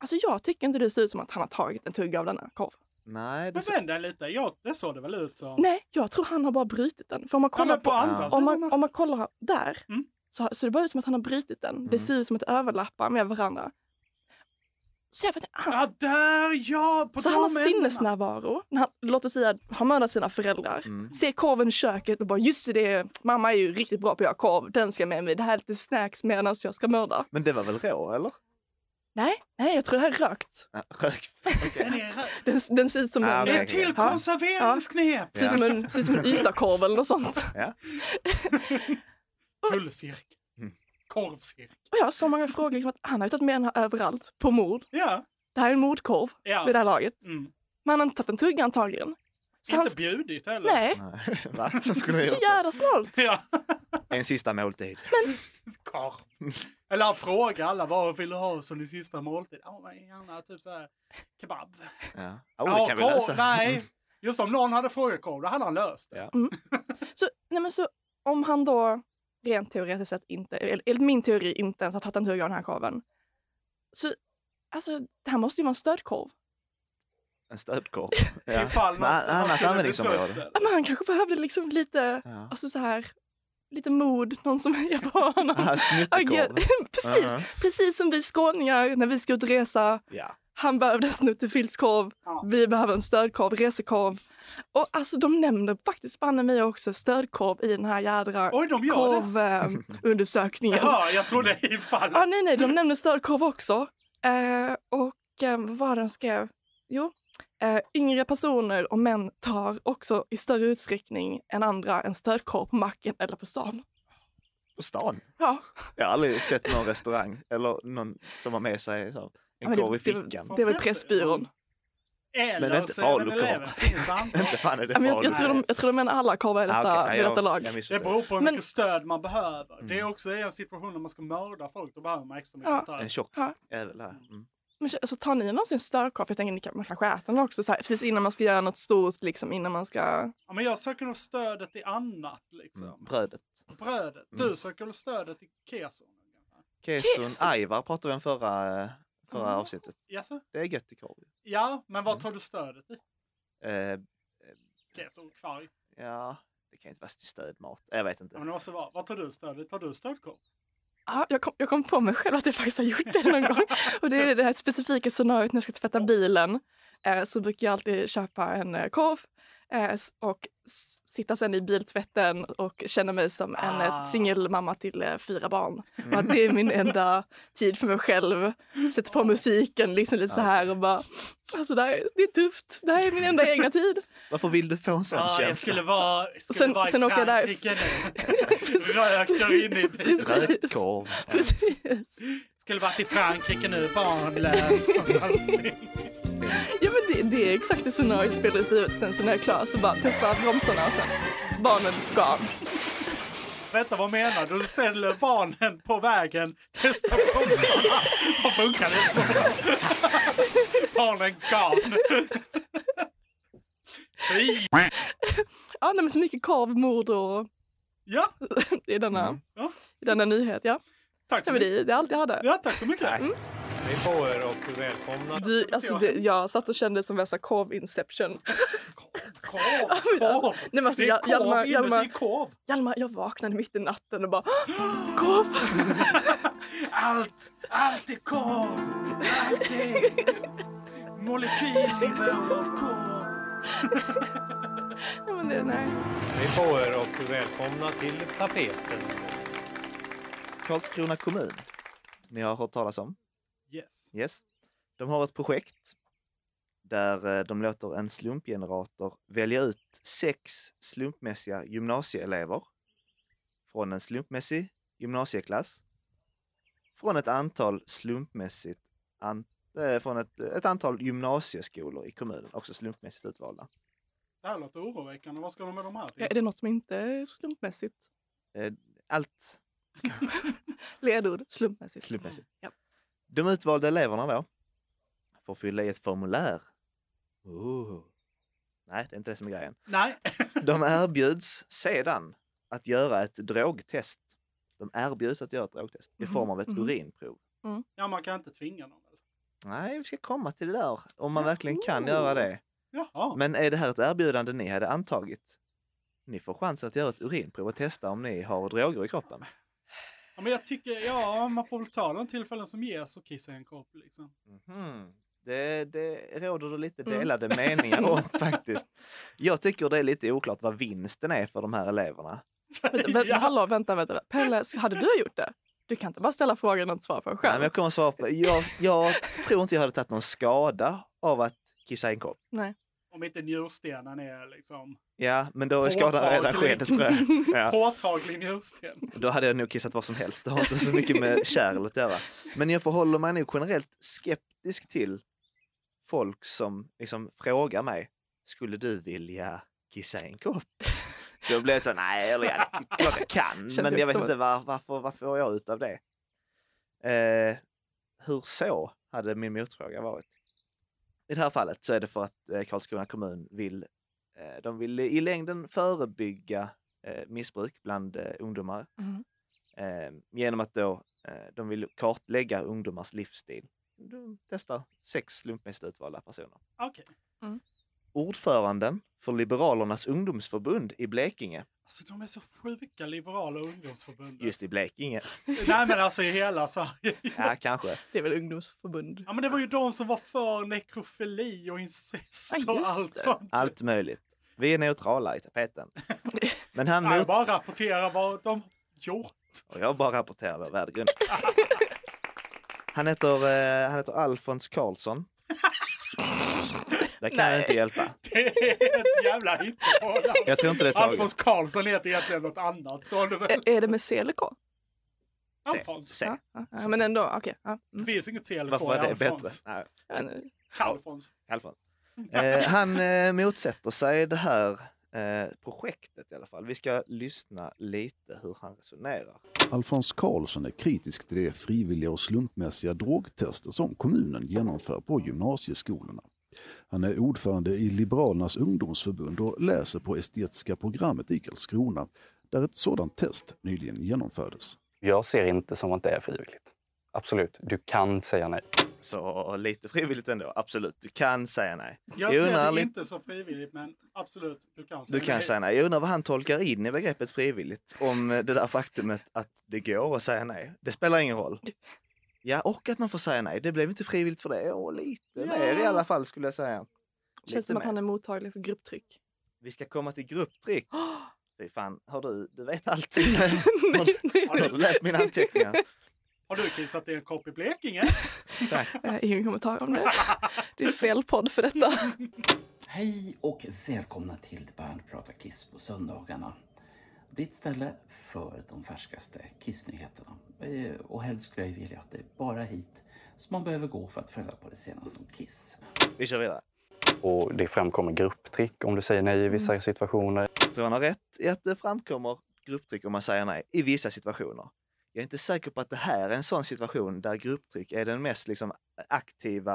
D: alltså, jag tycker inte det ser ut som att han har tagit en tugga av denna korv.
B: Nej, det
C: Men
B: ser
C: vänd dig lite. Ja, det såg det väl ut som.
D: Nej, jag tror han har bara brutit den. För om man
C: Ja,
D: kollar
C: men på
D: på...
C: andra
B: Ja.
D: Om
C: sidan.
D: man, om man kollar här- där
C: Mm.
D: Så, så det bara ut som att han har brutit den. Det ser ut som att det överlappar med varandra. Så jag bara,
C: ah, där ja! På
D: så
C: de
D: han har
C: ämnena.
D: sinnesnärvaro. När han, låt oss säga har mördat sina föräldrar.
B: Mm.
D: Ser korven i köket och bara just det, mamma är ju riktigt bra på att göra korv. Den ska med mig. Det här är lite snacks medan jag ska mörda.
B: Men det var väl rå, eller?
D: Nej, nej, jag tror det här är rökt.
B: Ja, rökt.
C: Den är rö-
D: Den, den ser ut som
B: Ah,
D: en...
B: okej.
C: Ett till konserveringsknep!
D: Ser ut som en, ser ut som en Ystakorv eller något sånt.
B: Ja.
C: Fullcirkel.
B: Mm.
C: Korvcirkel.
D: Och jag har så många frågor. Liksom att han har ju tagit med den här överallt på mord.
C: Ja.
D: Det här är en mordkorv
C: ja.
D: vid det här laget.
C: Mm.
D: Men han har inte tagit en tugga antagligen. Så han,
C: Inte bjudit heller.
D: nej,
B: Nej, Va? Vad skulle jag
D: så
B: göra?
D: jävla snålt.
C: Ja.
B: En sista måltid.
C: Korv. Eller han frågar alla vad vill du ha som din sista måltid? Ja, men gärna typ så här kebab.
B: Ja. Oh, det kan vi
C: korv,
B: lösa. Mm.
C: Nej, just om någon hade frågat korv, då hade han löst det.
B: Ja.
D: Så, nej men så om han då rent teoretiskt sett inte, eller enligt min teori inte ens har tagit en tugga av den här korven. Så alltså, det här måste ju vara en stödkorv.
B: En stödkorv.
C: Ifall något
B: Men
C: han
B: annat
C: skulle
B: användningsområde.
C: besluta.
D: Ja, Men han kanske behövde liksom lite,
B: Ja.
D: alltså så här, lite mod, någon som hejar på honom.
B: Ah,
D: Agera-
B: Snuttekorv.
D: precis,
B: Ja.
D: precis som vi skåningar när vi ska ut och resa.
B: Ja.
D: Han behövde en snuttefiltskorv,
C: Ja.
D: vi behöver en stödkorv, resekorv. Och alltså de nämner faktiskt banne mig också stödkorv i den här jädra eh,
C: Oj, de gör det.
D: korvundersökningen.
C: Ja, jag trodde ifall.
D: Ah, nej, nej, de nämnde stödkorv också. Eh, och eh, vad var det de skrev? Jo, eh, yngre personer och män tar också i större utsträckning än andra en stödkorv på macken eller på stan.
B: På stan.
D: Ja,
B: Jag har aldrig sett någon restaurang eller någon som har med sig så,
D: Ja,
B: en
D: men
B: korv i
D: det,
B: fickan.
D: det, det var Pressbyrån.
C: Eller
B: Men inte falukorv.
C: 7-Eleven finns antagligen.
B: Inte fan är det
D: Ja, men jag,
B: farligt.
D: jag, tror de, jag tror de menar alla korvar i detta,
B: Ah, okej. Ja,
D: i detta
B: jag-
D: lag.
B: jag
C: Det
B: missförstod.
C: beror på hur
D: Men-
C: mycket stöd man behöver. Det är också i en situation när man ska mörda folk, då behöver man extra mycket
D: Ja.
B: Mm. En
C: stöd.
B: tjock
D: Ja.
B: ädel här. Mm.
D: Men så alltså, tar ni någonsin stödkorv? Jag tänker ni kan, man kanske äter den också, så här, precis innan man ska göra något stort, liksom innan man ska...
C: Ja, men jag söker nog stödet i annat, liksom.
B: Mm. Brödet.
C: Brödet. Du söker väl stödet i keson?
B: Keson
D: Keso.
B: ajvar pratade vi om förra, förra
D: Ah.
B: avsnittet.
C: Jaså?
B: Det är gött i korv.
C: Ja, men
B: Mm.
C: vad tar du stödet i?
B: Eh,
C: Keson, kvarg?
B: ja, det kan ju inte vara till stödmat. Jag vet
C: Ja,
B: inte.
C: men det måste vara. Vad tar du stödet i? Tar du stödkorv?
D: Ja, jag, kom, jag kom på mig själv att jag faktiskt har gjort det någon gång. Och det är det här specifika scenariot när jag ska tvätta bilen. Eh, så brukar jag alltid köpa en eh, korv eh, s- och s- sitta sen i biltvätten och känna mig som en
C: Ah.
D: eh, singelmamma till eh, fyra barn. Och att det är min enda tid för mig själv. Sätter på musiken liksom lite så här och bara Alltså det, här, är- det är tufft. Det här är min enda egna tid.
B: Varför vill du få en sån
C: Ja, jag
B: känsla?
C: skulle vara, jag skulle
D: Sen-
C: vara i
D: sen åker jag där-
C: Frankrike nu. Röker in i bilen.
D: Precis.
B: Rökt korv.
D: Precis.
C: Skulle varit i Frankrike nu, barnlös.
D: Ja men det, det är exakt det scenariot spelar ut i huvudet. Sen så när jag är klar så bara testar bromsarna och sen barnen gone.
C: Vänta, vad menar du? Du säljer barnen på vägen, testar bromsarna. Vad funkar det så? Barnen gone. Fy!
D: Ja nej, men så mycket korv, mord och
C: Ja,
D: i denna,
C: Ja.
D: i denna nyhet. Ja.
C: tack så
D: Nej, men
C: mycket.
D: det, det är allt jag hade.
C: Ja, tack så mycket. Mm.
I: Hej på er och välkomna.
D: Du, alltså, det, jag satt och kände som värsta korv-inception.
C: Korv,
D: men alltså,
C: korv.
D: nej, men alltså,
C: det är
D: Hjalmar-
C: korv
D: Hjalmar-
C: inuti korv.
D: Hjalmar, jag vaknade mitt i natten och bara korv!
C: Allt, allt är korv. Allt är molekylnivå av korv.
D: Ja, men det, nej.
I: Hej på er och välkomna till tapeten.
B: Karlskrona kommun. Ni har hört talas om?
C: Yes.
B: Yes. De har ett projekt där eh, de låter en slumpgenerator välja ut sex slumpmässiga gymnasieelever från en slumpmässig gymnasieklass från ett antal slumpmässigt an, eh, från ett, ett antal gymnasieskolor i kommunen, också slumpmässigt utvalda.
C: Det här låter oroväckande. Vad ska de med de här
D: Ja,
C: till?
D: är det något som inte är slumpmässigt?
B: Eh, Allt
D: Ledord, slumpmässigt.
B: slumpmässigt.
D: Ja.
B: De utvalda eleverna då får fylla i ett formulär. Ooh. Nej, det är inte det som är grejen.
C: Nej.
B: De erbjuds sedan att göra ett drogtest. De erbjuds att göra ett drogtest i form av ett
D: Mhm.
B: urinprov.
C: Ja, man kan inte tvinga dem. väl?
B: Nej, vi ska komma till det där. Om man verkligen kan göra det.
C: Jaha.
B: Men är det här ett erbjudande ni hade antagit? Ni får chansen att göra ett urinprov och testa om ni har droger i kroppen.
C: Ja, men jag tycker, ja, man får väl ta de tillfällen som ges och kissa i en kopp liksom.
B: Mhm. Det, det råder det lite delade meningar om faktiskt. Jag tycker det är lite oklart vad vinsten är för de här eleverna.
D: Vänta, vä- Hallå, vänta, vänta. vänta. Pelle, s- hade du gjort det? Du kan inte bara ställa frågan och inte svara på den
B: Nej,
D: själv.
B: men jag kommer svara på jag, jag tror inte jag hade tagit någon skada av att kissa i en kopp.
C: Om inte njurstenen är liksom
B: Ja, men då är skadan redan skedd
C: Påtaglig.
B: tror jag. Ja.
C: påtaglig njursten.
B: Då hade jag nog kissat vad som helst. Det har inte så mycket med kärl att göra. Men jag förhåller mig nog generellt skeptisk till folk som liksom frågar mig, skulle du vilja kissa i en kopp? Då blir jag så, nej, eller ja, det är klart jag kan,
D: Känns
B: men
D: ju
B: jag vet
D: så.
B: inte var, varför, vad får jag ut av det? Eh, hur så, hade min motfråga varit. I det här fallet så är det för att eh, Karlskrona kommun vill, eh, de vill i längden förebygga eh, missbruk bland eh, ungdomar
D: Mhm.
B: eh, genom att då, eh, de vill kartlägga ungdomars livsstil. De testar sex slumpmässigt utvalda personer.
C: Okej.
B: Ordföranden för Liberalernas ungdomsförbund i Blekinge,
C: Alltså de är så sjuka liberala ungdomsförbundet.
B: just i Blekinge,
C: Nej men alltså i hela Sverige.
B: ja kanske,
D: Det är väl ungdomsförbund?
C: Ja men det var ju de som var för nekrofili och incest
D: Ja, just
C: och allt
D: det.
C: sånt.
B: allt möjligt. Vi är neutrala i tapeten. Men han
C: Nej,
B: mot-
C: jag bara rapportera vad de gjort.
B: Och jag bara rapporterar vår värdegrund. Han heter, eh, han heter Alfons Karlsson. Det kan jag
D: Nej.
B: inte hjälpa.
C: Det är ett jävla hittepå.
B: Jag tror inte det är taget.
C: Alfons Karlsson heter egentligen något annat. Så det väl.
D: Ä- Är det med C eller K?
C: Alfons.
B: Se.
D: Ja, ja, ja, men ändå, okej. ja.
C: Det
D: Mm. eh,
C: finns inget CLK
B: Varför var
C: i
B: det bättre?
C: Alfons.
B: Nej,
D: Ja, nu.
C: Alfons.
B: Alfons. Eh, han eh, motsätter sig det här eh, projektet i alla fall. Vi ska lyssna lite hur han resonerar.
L: Alfons Karlsson är kritisk till de frivilliga och slumpmässiga drogtester som kommunen genomför på gymnasieskolorna. Han är ordförande i Liberalernas ungdomsförbund och läser på estetiska programmet i Karlskrona där ett sådant test nyligen genomfördes.
M: Jag ser inte som att det är frivilligt. Absolut, du kan säga nej.
B: Så lite frivilligt ändå, absolut. Du kan säga nej.
C: Jag
B: Jag undrar
C: ser det
B: lite-
C: inte som frivilligt men absolut, du kan
B: Du kan säga nej. Jag undrar vad han tolkar in i begreppet frivilligt om eh, det där faktumet att det går att säga nej. Det spelar ingen roll. Ja, och att man får säga nej. Det blev inte frivilligt för det. Och lite mer i alla fall skulle jag säga. Lite
D: Känns som att
B: mer.
D: han är mottaglig för grupptryck.
B: Vi ska komma till grupptryck. Fy fan, hör du, du vet allting. har, du- har du läst mina anteckningar?
C: Har du kissat i en kopp i Blekinge?
B: Exakt.
D: Eh, Ingen kommentar om det. Det är fel podd för detta.
N: Hej och välkomna till Bernt pratar kiss på söndagarna. Ditt ställe för de färskaste kissnyheterna. Eh, Och helst skulle jag ju vilja att det är bara hit som man behöver gå för att följa på det senaste om Kiss.
B: Vi kör vidare.
M: Och det framkommer grupptrick om du säger nej i vissa situationer.
B: Jag Mm. tror han har rätt i att det framkommer grupptryck om man säger nej i vissa situationer. Jag är inte säker på att det här är en sån situation där grupptryck är den mest liksom, aktiva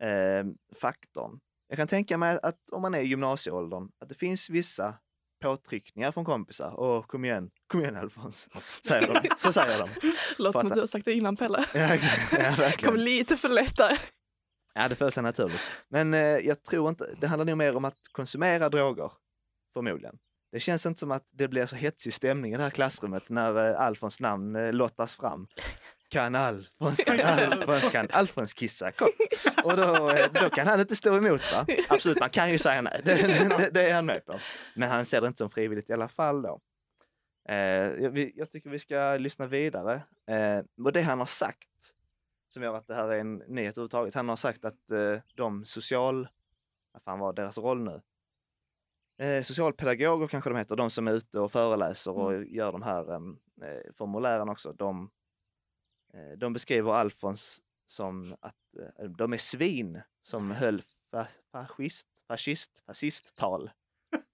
B: eh, faktorn. Jag kan tänka mig att om man är i gymnasieåldern, att det finns vissa påtryckningar från kompisar. Åh, kom igen, kom igen Alfons, säger de. Så säger de.
D: Låter som
B: Fattar.
D: att du har sagt det innan Pelle.
B: Ja, exakt. Ja, verkligen.
D: Kom lite för lätt där.
B: Ja, det föll sig naturligt. Men eh, jag tror inte, det handlar nog mer om att konsumera droger, förmodligen. Det känns inte som att det blir så hetsig stämning i det här klassrummet när eh, Alfons namn eh, lottas fram. Kan Alfons, kan Alfons, kan Alfons kissa kopp? Och då, eh, då kan han inte stå emot va? Absolut, man kan ju säga nej, det, det, det är han med på. Men han ser det inte som frivilligt i alla fall då. Eh, jag, vi- jag tycker vi ska lyssna vidare. Eh, och det han har sagt, som gör att det här är en nyhet överhuvudtaget, han har sagt att eh, de social... Vad fan var deras roll nu? Eh, socialpedagoger kanske de heter, de som är ute och föreläser och gör de här em, eh, formulären också. De, eh, de beskriver Alfons som att eh, de är svin som höll fa- fascist, fascist, fascisttal.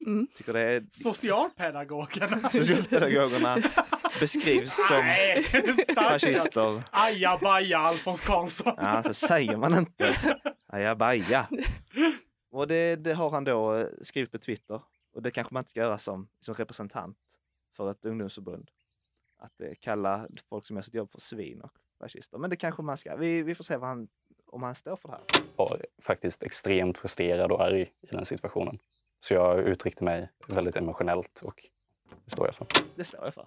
D: Mm.
B: Tycker det är
C: Socialpedagogerna.
B: Socialpedagogerna Alltså, beskrivs som
C: Nej, stackars.
B: fascister.
C: Aja baja Alfons Karlsson.
B: Ja, så säger man inte. Ajabaja. Och det, det har han då eh, skrivit på Twitter. Och det kanske man inte ska göra som, som representant för ett ungdomsförbund. Att eh, kalla folk som gör sitt jobb för svin och fascister. Men det kanske man ska. Vi, vi får se vad han, om han står för det här.
M: var faktiskt extremt frustrerad och arg i den situationen. Så jag uttryckte mig väldigt emotionellt och det står jag för.
B: Det står jag för.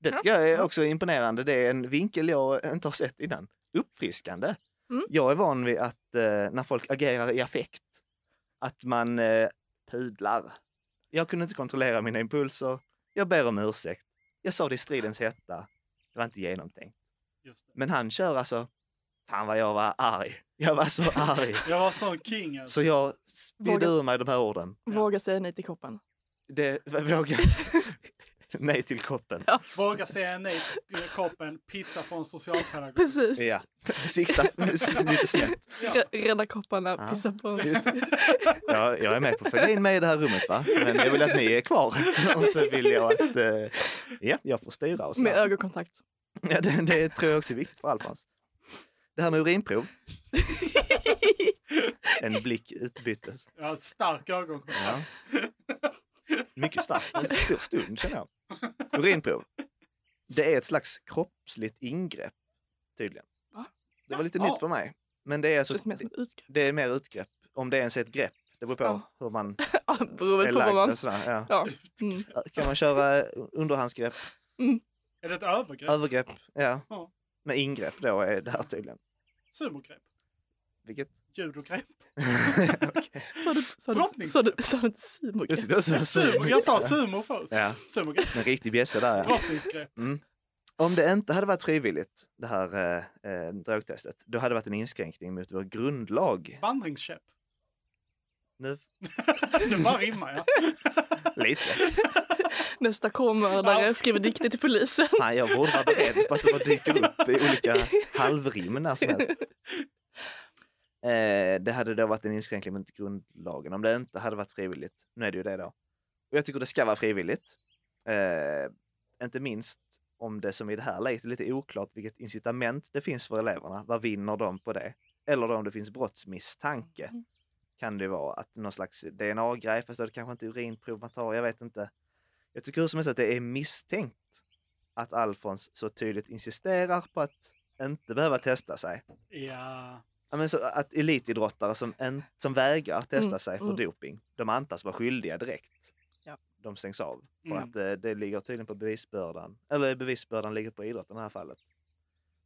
B: Det tycker jag är också imponerande. Det är en vinkel jag inte har sett innan. Uppfriskande.
O: Mm.
B: Jag är van vid att eh, när folk agerar i affekt, att man eh, pudlar. Jag kunde inte kontrollera mina impulser. Jag ber om ursäkt. Jag sa det i stridens hetta. Det var inte genomtänkt.
C: Just det.
B: Men han kör alltså, fan vad jag var arg. Jag var så arg.
C: Jag var sån king alltså.
B: Så jag spydde
D: Våga-
B: ur mig de här orden.
D: Våga säga nej till koppen.
B: Det vågar Nej till koppen.
C: Våga säga nej till koppen, pissa på en socialpedagog.
D: Precis.
B: Ja, sikta lite snett.
D: Rä- Rädda kopparna,
B: Ja.
D: pissa på oss.
B: Just- Ja, jag är med på att följa in mig i det här rummet, va? men jag vill att ni är kvar. Och så vill jag att eh, ja, jag får styra. Och så.
D: Med ögonkontakt.
B: Ja, det, det tror jag också är viktigt för Alfons. Det här med urinprov. En blick utbyttes.
C: Jag har stark ögonkontakt.
B: Ja. Mycket starkt. Stor stund känner jag. Urinprov. Det är ett slags kroppsligt ingrepp tydligen.
D: Va?
B: Det var lite
D: Ja.
B: nytt för mig. Men det är, alltså,
D: Känns mer som ett utgrepp.
B: det är mer utgrepp. Om det ens är ett grepp. Det beror på hur man
D: Beror väl på vad man...
B: och sådär, ja.
D: Ja. Mm.
B: Kan man köra underhandsgrepp,
C: Är det ett övergrepp?
B: övergrepp, ja.
C: Ja.
B: Men ingrepp då är det här tydligen.
C: Sumogrepp?
B: Vilket?
C: Judogrepp?
D: Sa du, sa du, sa du, sa du inte
B: Jag tyckte jag sa
D: sumogrepp?
B: sumo.
C: Jag sa sumo först.
B: Ja.
C: Sumogrepp.
B: En riktig bjässe där ja.
C: Drottningsgrepp.
B: Mm. Om det inte hade varit frivilligt, det här eh, eh, drogtestet, då hade det varit en inskränkning mot vår grundlag.
C: Vandringskäpp.
B: Nu,
C: Det bara rimmar ja.
B: lite.
D: Nästa k-mördare skriver dikter till polisen.
B: Fan, jag borde vara beredd på att det bara dyker upp i olika halvrim när som helst. Eh, det hade då varit en inskränkning mot grundlagen om det inte hade varit frivilligt. Nu är det ju det då. Och jag tycker det ska vara frivilligt. Eh, inte minst om det som i det här läget är lite oklart vilket incitament det finns för eleverna. Vad vinner de på det? Eller om det finns brottsmisstanke. Kan det vara att någon slags DNA-grej, fast då är det kanske inte urinprov man tar, jag vet inte. Jag tycker hur som helst att det är misstänkt att Alfons så tydligt insisterar på att inte behöva testa sig.
C: Ja.
B: Ja, men så att elitidrottare som, en, som vägrar testa
C: Mm,
B: sig för
C: mm.
B: doping, de antas vara skyldiga direkt.
D: Ja.
B: De stängs av. För
C: Mm.
B: att eh, det ligger tydligen på bevisbördan. Eller bevisbördan ligger på idrotten i det här fallet.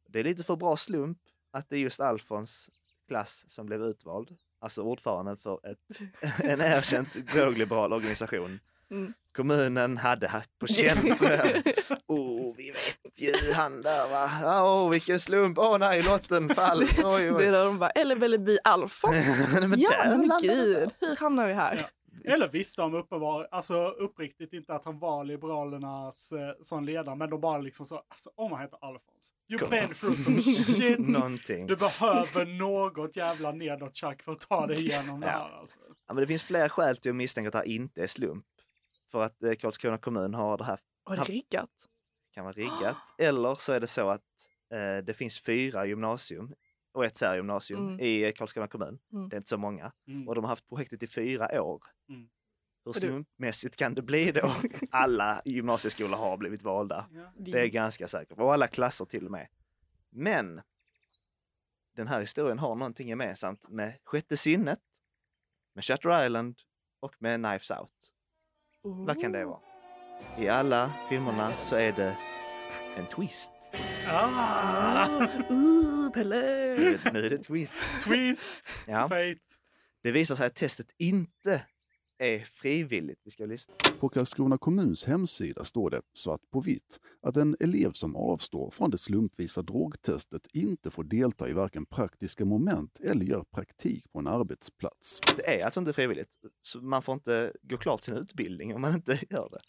B: Det är lite för bra slump att det är just Alfons klass som blev utvald. Alltså ordföranden för ett, en erkänt drogliberal organisation.
D: Mm.
B: Kommunen hade haft på känt med. Oh, vi vet ju han där va. Ja, Åh, vilken slump. Åh nej, lotten fall. Oj,
D: Det är
B: oj.
D: där de bara, eller Belleby Alfons.
B: Nej, men
D: ja,
B: där
D: men
B: landade
D: gud, hur hamnar vi här?
B: Typ.
C: Eller visste de uppenbar, alltså uppriktigt inte att han var Liberalernas eh, sån ledare, men de bara liksom så, alltså om han heter Alfons, you've been through some shit.
B: Någonting.
C: Du behöver något jävla nedåt Chuck för att ta dig igenom det här alltså.
B: Ja, men det finns flera skäl till att misstänka att det här inte är slump. För att eh, Karlskrona kommun har det här
D: Var det riggat?
B: kan vara riggat. Eller så är det så att eh, det finns fyra gymnasium och ett särgymnasium
D: Mm.
B: i eh, Karlskrona kommun.
D: Mm.
B: Det är inte så många.
C: Mm.
B: Och de har haft projektet i fyra år.
C: Mm.
B: Hur
D: Och du-
B: slumpmässigt kan det bli då? Alla gymnasieskolor har blivit valda. Det är ganska säkert. Och alla klasser till och med. Men den här historien har någonting gemensamt med Sjätte sinnet, med Shutter Island och med Knives Out. Vad kan det vara? I alla filmerna så är det en twist.
C: Ah,
D: Ooh, Pelle!
B: Nu är det- nu är det twist.
C: twist!
B: Ja.
C: Fate!
B: Det visar sig att testet inte är frivilligt. Vi ska lyssna.
L: På Karlskrona kommuns hemsida står det, svart på vitt, att en elev som avstår från det slumpvisa drogtestet inte får delta i varken praktiska moment eller gör praktik på en arbetsplats.
B: Det är alltså inte frivilligt. Så man får inte gå klart sin utbildning om man inte gör det.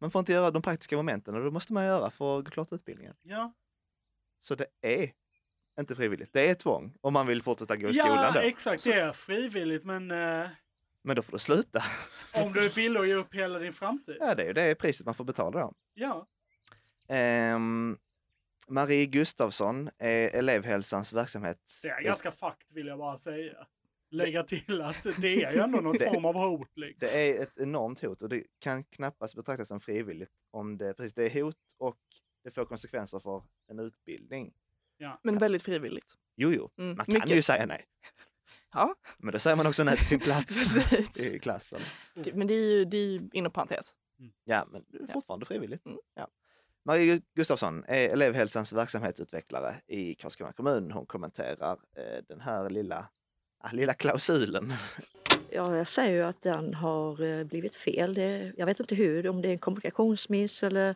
B: Man får inte göra de praktiska momenten och det måste man göra för att gå klart utbildningen.
C: Ja,
B: Så det är inte frivilligt. Det är tvång om man vill fortsätta gå i skolan då.
C: ja exakt, det är frivilligt men eh,
B: Men då får du sluta.
C: om du vill och ge upp hela din framtid.
B: Ja, det är ju det priset man får betala då.
C: Ja,
B: Ehm, Marie Gustafsson är elevhälsans verksamhet.
C: det är ganska fucked vill jag bara säga. Lägga till att det är ju ändå någon
B: Det-
C: form av hot liksom.
B: Det är ett enormt hot och det kan knappast betraktas som frivilligt om det, precis, det är hot och det får konsekvenser för en utbildning.
C: Ja.
D: Men väldigt frivilligt.
B: Jo, jo,
D: Mm,
B: man kan
D: mycket.
B: ju säga nej.
D: Ja,
B: Men då säger man också nej till sin plats
D: Precis.
B: i klassen.
D: Mm. det- men det är ju, det är ju inom parentes.
B: Ja, men det är fortfarande frivilligt. Ja. Marie Gustafsson är elevhälsans verksamhetsutvecklare i Karlskrona kommun. Hon kommenterar eh, den här lilla, ah, lilla klausulen.
O: Ja, jag säger ju att den har eh, blivit fel. Det, jag vet inte hur, om det är en kommunikationsmiss eller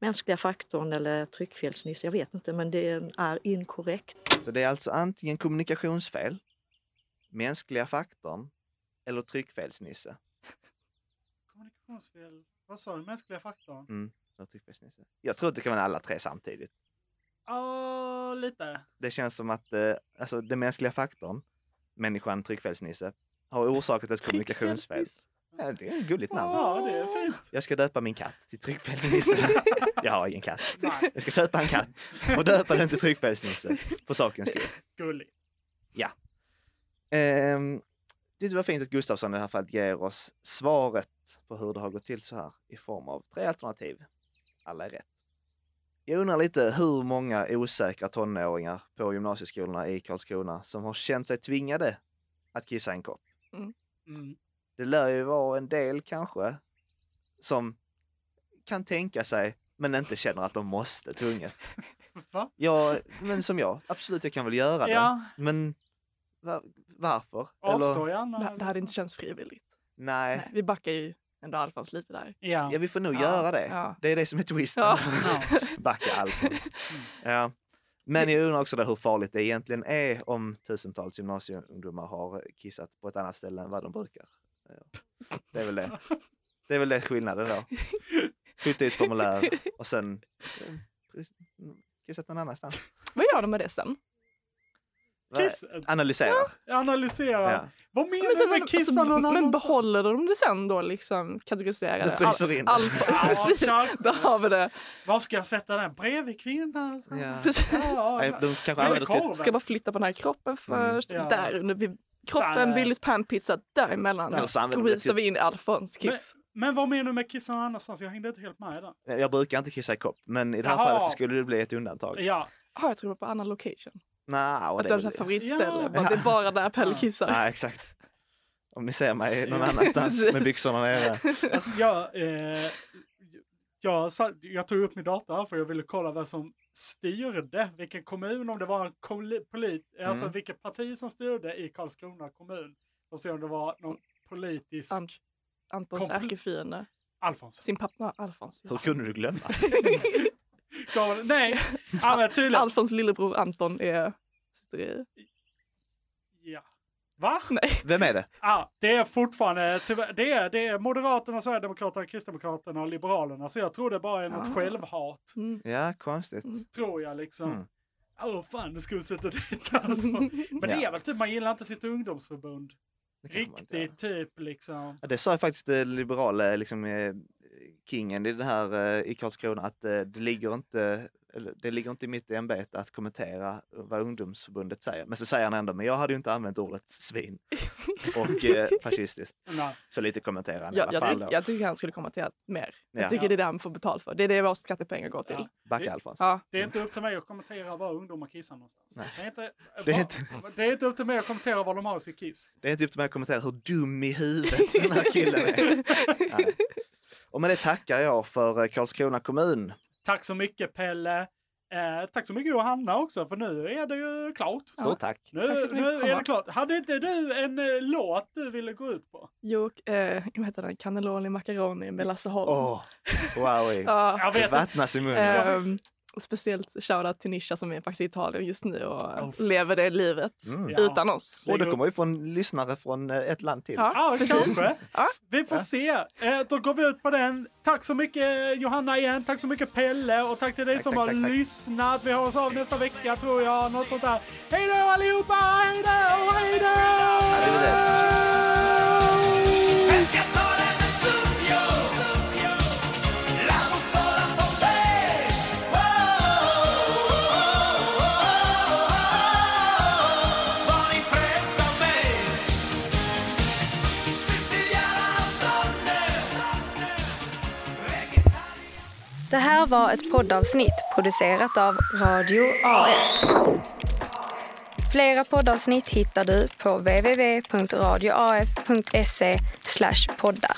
O: mänskliga faktorn eller tryckfelsmiss. Jag vet inte, men det är inkorrekt.
B: Så det är alltså antingen kommunikationsfel, mänskliga faktorn eller tryckfelsnisse.
C: Kommunikationsfel. Vad sa du? Mänskliga faktorn?
B: Mm, eller tryckfelsnisse. Jag tror att det kan vara alla tre samtidigt.
C: Ja, lite.
B: Det känns som att eh, alltså, den mänskliga faktorn, människan tryckfelsnisse, har orsakat ett kommunikationsfel. Ja, det är ett gulligt namn.
C: Ja, det är fint.
B: Jag ska döpa min katt till Tryckfelsnisse. Jag har ingen katt. Jag ska köpa en katt och döpa den till Tryckfelsnisse för sakens skull.
C: Gulligt.
B: Ja. Ehm, det var fint att Gustafsson i det här fallet ger oss svaret på hur det har gått till så här i form av tre alternativ. Alla är rätt. Jag undrar lite hur många osäkra tonåringar på gymnasieskolorna i Karlskrona som har känt sig tvingade att kissa i en kopp.
D: Mm.
C: Mm.
B: Det lär ju vara en del kanske som kan tänka sig men inte känner att de måste tvunget.
C: Va?
B: Ja, men som jag. Absolut, jag kan väl göra det.
C: Ja.
B: Men va- varför?
D: Avstår Det, det hade inte känts frivilligt.
B: Nej.
D: Nej, vi backar ju ändå Alfons lite där.
B: Ja. vi får nog
D: Ja,
B: göra det.
D: ja.
B: Det är det som är twisten.
D: Ja.
B: Backa
D: Mm.
B: Alfons. Ja. Men jag undrar också där hur farligt det egentligen är om tusentals gymnasieungdomar har kissat på ett annat ställe än vad de brukar. Ja. Det är väl det. Det är väl det skillnaden då. Flytta ut formulär och sen eh, kissat någon annanstans.
D: Vad gör de med det sen?
B: Va? Analysera.
C: Analysera.
B: Ja.
C: Vad
D: Ja,
C: menar
D: men sen-
C: du med
D: alltså,
C: kissa någon
D: Men
C: annan?
D: behåller de det sen då liksom kategoriserar
B: Det fryser in.
D: Alfa, precis. Där har vi det.
C: Var ska jag sätta den? Bredvid kvinnan? Så.
B: Ja.
D: Precis.
B: Nej, de kanske använder till...
D: Ska bara flytta på den här
B: Mm.
D: kroppen först.
C: Ja.
D: Där under vid kroppen,
C: Där.
D: Billys panpizza, däremellan
B: Eller så använder de det
D: squeezar
B: till-
D: vi in Alfons kiss.
C: Men, men vad menar du med kissa någon annanstans? Jag hängde inte helt med där.
B: Eh, Jag brukar inte kissa i kopp, men i det här
C: Jaha.
B: fallet så skulle det bli ett undantag.
C: Ja.
D: Ja, jag tror det var på annan location.
B: Nå,
D: att
B: det
D: det
B: är
D: var ett
B: väl-
D: favoritställe.
B: Ja.
D: bara Det är bara där Pelle kissar.
B: Nej, exakt. Om ni ser mig någon annanstans med byxorna nere.
C: Alltså, jag, eh, jag, satt, jag tog upp min dator här för jag ville kolla vem som styrde, vilken kommun, om det var en koli- polit, alltså
B: Mm.
C: vilket parti som styrde i Karlskrona kommun. Och se om det var någon politisk...
D: Ant- Antons
C: Kompl-
D: ärkefiende.
C: Alfons.
D: Sin pappa Alfons.
B: Hur kunde du glömma?
C: Gav- Nej, ja, men tydligen.
D: Alfons lillebror Anton är... sitter i-
C: Ja. Va?
B: Vem är det?
C: Ja, det är fortfarande, tyvärr, det är, det är Moderaterna, Sverigedemokraterna, Kristdemokraterna och Liberalerna. Så jag tror det bara är något
D: Ja.
C: självhat,
D: Mm.
B: Ja, konstigt.
C: tror jag liksom.
B: Mm.
C: Åh fan, det skulle sätta dit Alfons. Men det är väl typ, man gillar inte sitt ungdomsförbund. Riktigt typ liksom.
B: Ja, det sa ju faktiskt eh, liberala liksom, eh, kingen i, det här, eh, i Karlskrona att eh, det ligger inte eller, det ligger inte i mitt ämbete att kommentera vad ungdomsförbundet säger. Men så säger han ändå, men jag hade ju inte använt ordet svin och eh, fascistiskt.
C: Nej.
B: Så lite kommenterar han i
D: Ja,
B: alla
D: jag,
B: fall.
D: tyck,
B: då.
D: jag tycker han skulle kommentera mer.
B: Ja.
D: Jag tycker det är det han får betalt för. Det är det våra skattepengar går till.
B: Backa Alfons.
D: Ja.
C: Det är inte upp till mig att kommentera var ungdomar kissar någonstans.
B: Nej.
C: Det, är inte,
B: Det
C: det,
B: är
C: är
B: inte-
C: det är inte upp till mig att kommentera var de har sitt kiss.
B: Det är inte upp till mig att kommentera hur dum i huvudet den här killen är. Nej. Och med det tackar jag för eh, Karlskrona kommun.
C: Tack så mycket Pelle. Eh, tack så mycket Johanna också, för nu är det ju klart.
B: Stort tack.
C: Nu,
D: Tack för att ni
C: nu är
D: fick komma.
C: det klart. Hade inte du en eh, låt du ville gå ut på?
D: Jo, och, eh, vad heter den? Cannelloni macaroni med Lasse Holm.
B: Åh, wowie.
D: Ja.
C: Jag
B: Det
C: vet inte.
B: vattnas i munnen.
D: Ehm, speciellt shoutout till Nisha som är faktiskt i Italien just nu och eh,
C: Oh.
D: lever det livet
B: Mm.
D: utan oss.
B: Och det kommer ju från lyssnare från eh, ett land till.
D: Ja,
C: Ja,
D: precis.
C: kanske.
D: Ja.
C: Vi får se. Eh, då går vi ut på den. Tack så mycket Johanna igen. Tack så mycket Pelle. Och tack till dig
B: Tack,
C: som
B: tack,
C: har
B: tack, tack.
C: lyssnat. Vi hörs av nästa vecka tror jag. Något sånt där. Hej då allihopa! Hej då! Hej då!
B: Arrivederci.
K: Pescatore del studio, la bussola forte. Oh, oh, oh, oh. Manifesta a me, siciliana donne, reggae.
A: Det här var ett poddavsnitt producerat av Radio AF. Flera poddavsnitt hittar du på www.radioaf.se E poddar.